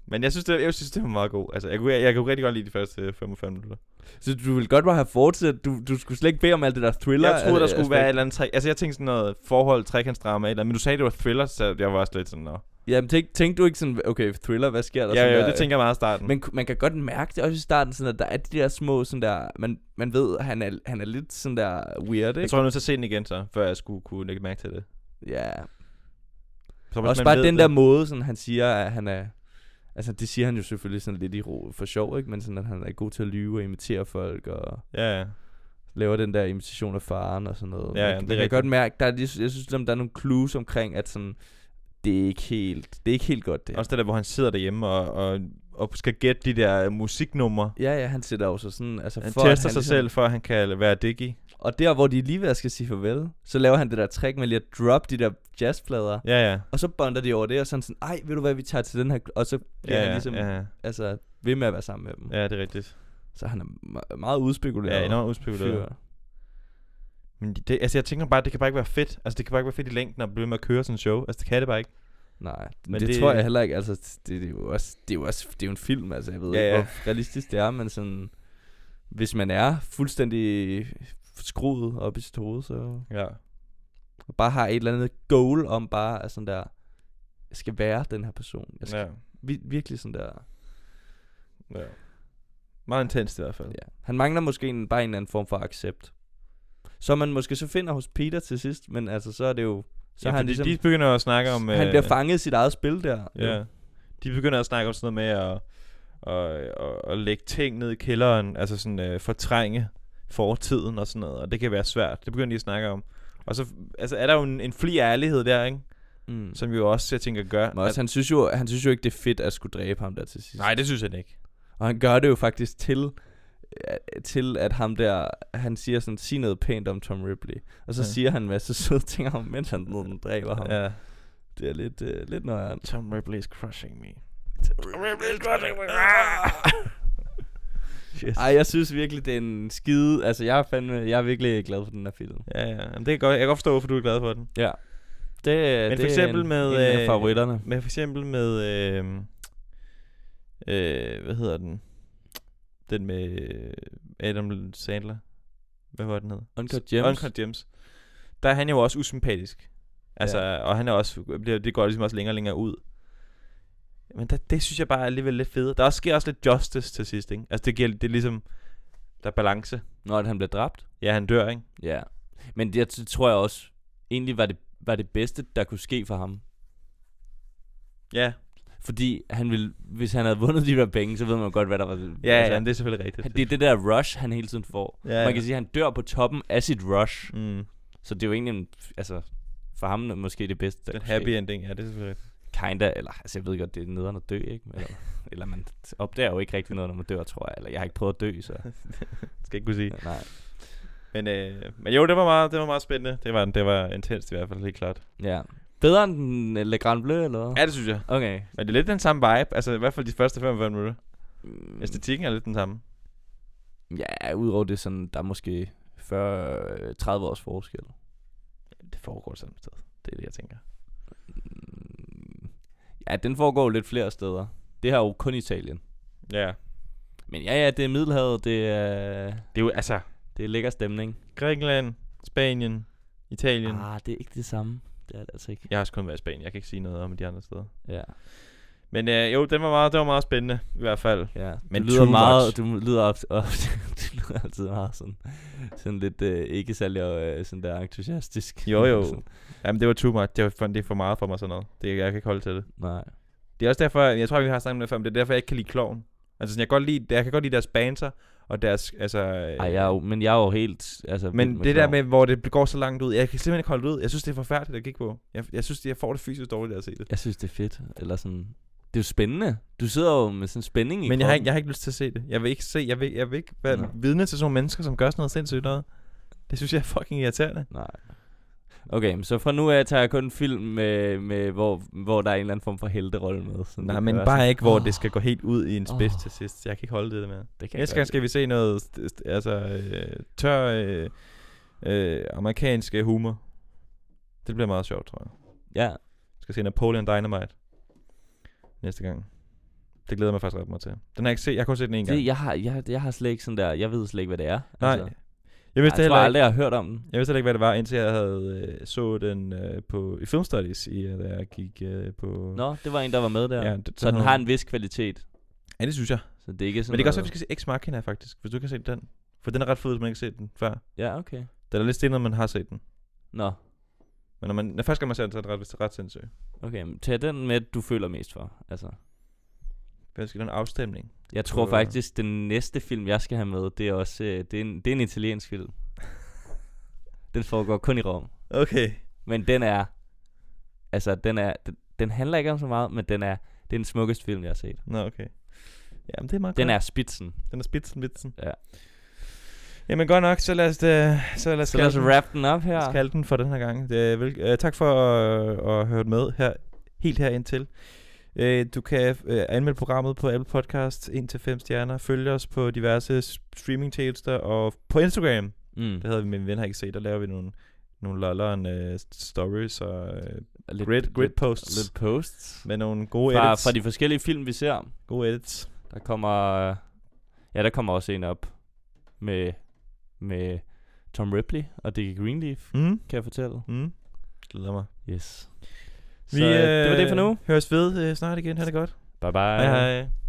Speaker 1: Men jeg synes, det, jeg synes, det var meget god. Altså, jeg kunne, jeg, jeg kunne rigtig godt lide de første øh, 45 minutter.
Speaker 2: så du ville godt bare have fortsat. Du, du skulle slet ikke bede om alt det der thriller.
Speaker 1: jeg troede, der
Speaker 2: øh,
Speaker 1: skulle
Speaker 2: aspekt.
Speaker 1: være et eller andet... Tre, altså, jeg tænkte sådan noget forhold, trekantsdrama, et eller andet, men du sagde, det var thriller, så jeg var også lidt sådan... Nå.
Speaker 2: Jamen, tænk, tænkte du ikke sådan... Okay, thriller, hvad sker der?
Speaker 1: Ja,
Speaker 2: sådan
Speaker 1: ja,
Speaker 2: der,
Speaker 1: det tænker jeg meget i starten.
Speaker 2: Men ku- man kan godt mærke det også i starten, sådan at der er de der små, sådan der, man, man ved, at han er, han er lidt sådan der weird,
Speaker 1: jeg
Speaker 2: ikke?
Speaker 1: tror, jeg er nødt til at se den igen så, før jeg skulle kunne lægge mærke til det.
Speaker 2: Ja.
Speaker 1: Så hvis
Speaker 2: Også
Speaker 1: man
Speaker 2: bare
Speaker 1: ved
Speaker 2: den
Speaker 1: det-
Speaker 2: der måde, sådan han siger, at han er... Altså, det siger han jo selvfølgelig sådan lidt i ro for sjov, ikke? Men sådan, at han er god til at lyve og imitere folk, og
Speaker 1: Ja, ja.
Speaker 2: laver den der imitation af faren og sådan noget.
Speaker 1: Ja, ja,
Speaker 2: man,
Speaker 1: det er
Speaker 2: man kan
Speaker 1: rigtigt.
Speaker 2: godt mærke, der er, lige- jeg synes, der er nogle clues omkring, at sådan, det er ikke helt, det er ikke helt godt, det her.
Speaker 1: Også det der, hvor han sidder derhjemme og, og, og skal gætte de der musiknumre.
Speaker 2: Ja, ja, han sætter jo så sådan, altså
Speaker 1: Han
Speaker 2: for
Speaker 1: tester
Speaker 2: at
Speaker 1: sig
Speaker 2: ligesom-
Speaker 1: selv, for at han kan være diggy.
Speaker 2: Og der, hvor de lige ved at skal sige farvel, så laver han det der trick med lige at drop de der jazzplader.
Speaker 1: Ja, ja.
Speaker 2: Og så bonder de over det, og sådan sådan, ej, ved du hvad, vi tager til den her... Og så bliver
Speaker 1: Ja,
Speaker 2: han
Speaker 1: ja,
Speaker 2: ligesom,
Speaker 1: ja, ja.
Speaker 2: altså, ved med at være sammen med dem.
Speaker 1: ja det er rigtigt.
Speaker 2: Så han er me- meget udspekuleret.
Speaker 1: Ja, enormt udspekuleret.
Speaker 2: fyr.
Speaker 1: Men det, altså, jeg tænker bare, det kan bare ikke være fedt. Altså, det kan bare ikke være fedt i længden at blive ved med at køre sådan en show. Altså, det kan det bare ikke.
Speaker 2: Nej,
Speaker 1: Men
Speaker 2: men det,
Speaker 1: det-
Speaker 2: det, tror jeg heller ikke. Altså, det, det, er jo også, det er jo også det er jo en film, altså, jeg ved
Speaker 1: Ja,
Speaker 2: ja, ikke,
Speaker 1: ja.
Speaker 2: hvor realistisk det er, men sådan, hvis man er fuldstændig skruet op i sit hoved, så
Speaker 1: Ja.
Speaker 2: og bare har et eller andet goal om bare, at sådan der, jeg skal være den her person. Jeg skal
Speaker 1: ja.
Speaker 2: vi, virkelig sådan der...
Speaker 1: Ja. Meget intenst i hvert fald.
Speaker 2: Ja. Han mangler måske en, bare en eller anden form for accept. Som man måske så finder hos Peter til sidst, men altså så er det jo... Så ja,
Speaker 1: ja,
Speaker 2: han
Speaker 1: fordi
Speaker 2: ligesom,
Speaker 1: de begynder at snakke om...
Speaker 2: han
Speaker 1: øh,
Speaker 2: bliver fanget i sit eget spil der.
Speaker 1: Ja. De begynder at snakke om sådan noget med at, at, at, at lægge ting ned i kælderen, altså sådan øh, fortrænge fortiden og sådan noget, og det kan være svært. Det begynder de at snakke om. Og så altså, er der jo en, en fli af ærlighed der, ikke?
Speaker 2: Mm. Så,
Speaker 1: Som jo også, jeg tænker, gør...
Speaker 2: men også, han, synes jo, han synes jo ikke, det er fedt at skulle dræbe ham der til sidst.
Speaker 1: nej, det synes jeg ikke.
Speaker 2: Og han gør det jo faktisk til, øh, til at ham der, han siger sådan, sig noget pænt om Tom Ripley. Og så
Speaker 1: Ja.
Speaker 2: ja. siger han en masse søde ting om, mens han den dræber ham. Ja.
Speaker 1: Ja.
Speaker 2: Det er lidt, øh, lidt nøjeren.
Speaker 1: Tom Ripley is crushing me. Yes.
Speaker 2: Ej, jeg synes virkelig, det er en skide... Altså, jeg er, fandme, jeg er virkelig glad for den her film.
Speaker 1: Ja, ja. Jamen, det kan godt, jeg kan godt forstå, hvorfor du er glad for den.
Speaker 2: Ja. Det,
Speaker 1: Men
Speaker 2: det
Speaker 1: for eksempel
Speaker 2: er en,
Speaker 1: med,
Speaker 2: en af
Speaker 1: øh,
Speaker 2: favoritterne.
Speaker 1: Men for eksempel med... Øh, øh, hvad hedder den? Den med øh, Adam Sandler. Hvad var den hed?
Speaker 2: Uncut Gems.
Speaker 1: Uncut Gems. Der er han jo også usympatisk. Altså, ja. og han er også, bliver- det går ligesom også længere og længere ud. Men der, det synes jeg bare er alligevel lidt fedt. Der også sker også lidt justice til sidst, ikke? Altså, det, giver, det er ligesom, der er balance.
Speaker 2: Når at han blev dræbt.
Speaker 1: Ja, han dør, ikke?
Speaker 2: Ja. Men det t- tror jeg også, egentlig var det, var det bedste, der kunne ske for ham.
Speaker 1: Ja,
Speaker 2: Fordi han ville, hvis han havde vundet de der penge, så ved man godt, hvad der var.
Speaker 1: ja, altså, jamen, det er selvfølgelig rigtigt.
Speaker 2: Han- Det er det der rush, han hele tiden får.
Speaker 1: Ja, ja.
Speaker 2: Man kan sige, at han dør på toppen af sit rush.
Speaker 1: Mm,
Speaker 2: Så det er jo egentlig, en, altså, for ham måske det bedste. der
Speaker 1: den
Speaker 2: kunne
Speaker 1: happy
Speaker 2: ske.
Speaker 1: ending, ja, det er selvfølgelig rigtigt.
Speaker 2: Kinda, eller, altså jeg ved godt, det er nederen at dø, ikke? Eller, eller man opdager jo ikke rigtig noget, når man dør, tror jeg. Eller jeg har ikke prøvet at dø, så
Speaker 1: Skal ikke kunne sige.
Speaker 2: nej.
Speaker 1: Men, øh, men jo, det var meget, det var meget spændende. Det var, det var intenst i hvert fald, helt klart.
Speaker 2: Ja. Bedre end den øh, Le Grand Bleu, eller hvad?
Speaker 1: Ja, det synes jeg.
Speaker 2: Okay.
Speaker 1: Men det er lidt den samme vibe. Altså i hvert fald de første 45 minutter.
Speaker 2: Mm,
Speaker 1: Æstetikken er lidt den samme.
Speaker 2: Ja, udover det sådan, der er måske 40-30 års forskel.
Speaker 1: Det foregår samme sted. Det er det, jeg tænker.
Speaker 2: Mm, Ja, den foregår jo lidt flere steder. Det her er jo kun Italien.
Speaker 1: Ja.
Speaker 2: Men ja, ja, det er Middelhavet, det er,
Speaker 1: Det er jo, altså...
Speaker 2: det er lækker stemning.
Speaker 1: Grækenland, Spanien, Italien. Ah.
Speaker 2: Ah, det er ikke det samme. Det er det altså ikke.
Speaker 1: Jeg har også kun været i Spanien. Jeg kan ikke sige noget om de andre steder.
Speaker 2: Ja.
Speaker 1: Men øh, jo, den var meget, det var meget spændende i hvert fald.
Speaker 2: ja.
Speaker 1: Men
Speaker 2: Men du lyder
Speaker 1: too
Speaker 2: meget,
Speaker 1: much.
Speaker 2: du lyder op, op, du lyder altid meget sådan, sådan lidt øh, ikke særlig øh, sådan der entusiastisk.
Speaker 1: Jo, jo. Jamen, det var too much. Det, var for, det er for meget for mig sådan noget. Det, jeg kan ikke holde til det.
Speaker 2: Nej.
Speaker 1: Det er også derfor, jeg tror, vi har snakket om det før, men det er derfor, jeg ikke kan lide kloven. Altså, sådan, jeg, kan godt lide, jeg kan godt lide deres banter, og deres, altså...
Speaker 2: Ej, jeg er jo, men jeg er jo helt, altså... vild
Speaker 1: Men det der
Speaker 2: Knorr.
Speaker 1: med, hvor det går så langt ud, jeg kan simpelthen ikke holde det ud. Jeg synes, det er forfærdeligt at kigge på. Jeg, jeg synes, jeg får det fysisk dårligt af at se det.
Speaker 2: Jeg synes, det er fedt, eller sådan... Det er jo spændende. Du sidder jo med sådan en spænding i
Speaker 1: Men jeg har, ikke,
Speaker 2: kroppen.
Speaker 1: jeg har ikke lyst til at se det. Jeg vil ikke, se, jeg vil, jeg vil ikke være
Speaker 2: Nå.
Speaker 1: vidne til sådan nogle mennesker, som gør sådan noget sindssygt noget. Det synes jeg er fucking irriterende.
Speaker 2: Nej. Okay, men så fra nu af tager jeg kun film, med, med hvor, hvor der er en eller anden form for helterolle med. Sådan,
Speaker 1: Nej,
Speaker 2: det
Speaker 1: men
Speaker 2: gør
Speaker 1: bare
Speaker 2: sådan-
Speaker 1: ikke, hvor
Speaker 2: Åh,
Speaker 1: det skal gå helt ud i en spids
Speaker 2: Åh.
Speaker 1: til sidst. Jeg kan ikke holde det med.
Speaker 2: Det kan jeg
Speaker 1: Næste
Speaker 2: godt
Speaker 1: gang skal vi se noget st- st- altså, øh, tør øh, øh, amerikansk øh, humor. Det bliver meget sjovt, tror jeg.
Speaker 2: lide. Ja,
Speaker 1: Jeg skal se Napoleon Dynamite næste gang. Det glæder jeg mig faktisk ret meget til. Den har jeg ikke set. Jeg har kun set den en gang.
Speaker 2: det, jeg, har, jeg, jeg har slet ikke sådan der... Jeg ved slet ikke, hvad det er.
Speaker 1: Nej.
Speaker 2: Altså,
Speaker 1: jeg vidste
Speaker 2: jeg tror
Speaker 1: heller
Speaker 2: aldrig, jeg har hørt om den.
Speaker 1: Jeg vidste heller ikke, hvad det var, indtil jeg havde øh, så den øh, på, i Film Studies, i, øh, da jeg gik øh, på...
Speaker 2: Nå, det var en, der var med der.
Speaker 1: Ja,
Speaker 2: Ja,
Speaker 1: det-
Speaker 2: så
Speaker 1: den
Speaker 2: den
Speaker 1: havde-
Speaker 2: har en vis kvalitet.
Speaker 1: Ja, det synes jeg.
Speaker 2: Så det er ikke sådan
Speaker 1: Men det kan også være, at vi
Speaker 2: noget...
Speaker 1: skal se Ex Machina, faktisk, hvis du ikke har set den. For den er ret fed, hvis man ikke har set den før.
Speaker 2: Ja, okay.
Speaker 1: Den er lidt stenet, når man har set den.
Speaker 2: Nå,
Speaker 1: Men når man, når første gang man ser den, så er den ret, ret sindssyg.
Speaker 2: okay. men Tag den med, du føler mest for. Altså,
Speaker 1: Jeg skal have en afstemning.
Speaker 2: jeg tror
Speaker 1: Øh.
Speaker 2: faktisk, den næste film, jeg skal have med, det er også... øh, Det er en, det er en italiensk film. den foregår kun i Rom.
Speaker 1: Okay.
Speaker 2: Men den er... Altså, den er... Den, den handler ikke om så meget, men den er... Det er den smukkeste film, jeg har set.
Speaker 1: Nå, okay. Jamen, det er meget
Speaker 2: Den
Speaker 1: godt.
Speaker 2: er spidsen.
Speaker 1: Den er spidsen, vitsen.
Speaker 2: Ja.
Speaker 1: Jamen, godt nok, så lad os, øh, så lad os,
Speaker 2: Så lad os
Speaker 1: kalde den-
Speaker 2: wrap den op
Speaker 1: lad os
Speaker 2: her.
Speaker 1: kalde den for den her gang. Det er vel, øh, tak for øh, at høre med her, helt her indtil. Øh, du kan øh, anmelde programmet på Apple Podcast ind til 5 stjerner. Følg os på diverse streamingtjenester og på Instagram.
Speaker 2: Mm.
Speaker 1: Det havde vi med min ven har ikke set. Der laver vi nogle, nogle lolleren uh, stories og uh,
Speaker 2: Og Lidt,
Speaker 1: grid, grid posts
Speaker 2: Lidt posts.
Speaker 1: med nogle gode
Speaker 2: Fra,
Speaker 1: edits.
Speaker 2: fra de forskellige film, vi ser.
Speaker 1: Gode edits.
Speaker 2: Der kommer... øh, Ja, der kommer også en op med, med Tom Ripley og Dickie Greenleaf,
Speaker 1: Mm.
Speaker 2: kan jeg fortælle.
Speaker 1: Mm. Glæder mig.
Speaker 2: Yes. Så vi, øh, det var det for nu.
Speaker 1: høres ved øh, snart igen. Ha' det godt.
Speaker 2: Bye bye.
Speaker 1: Hej hej.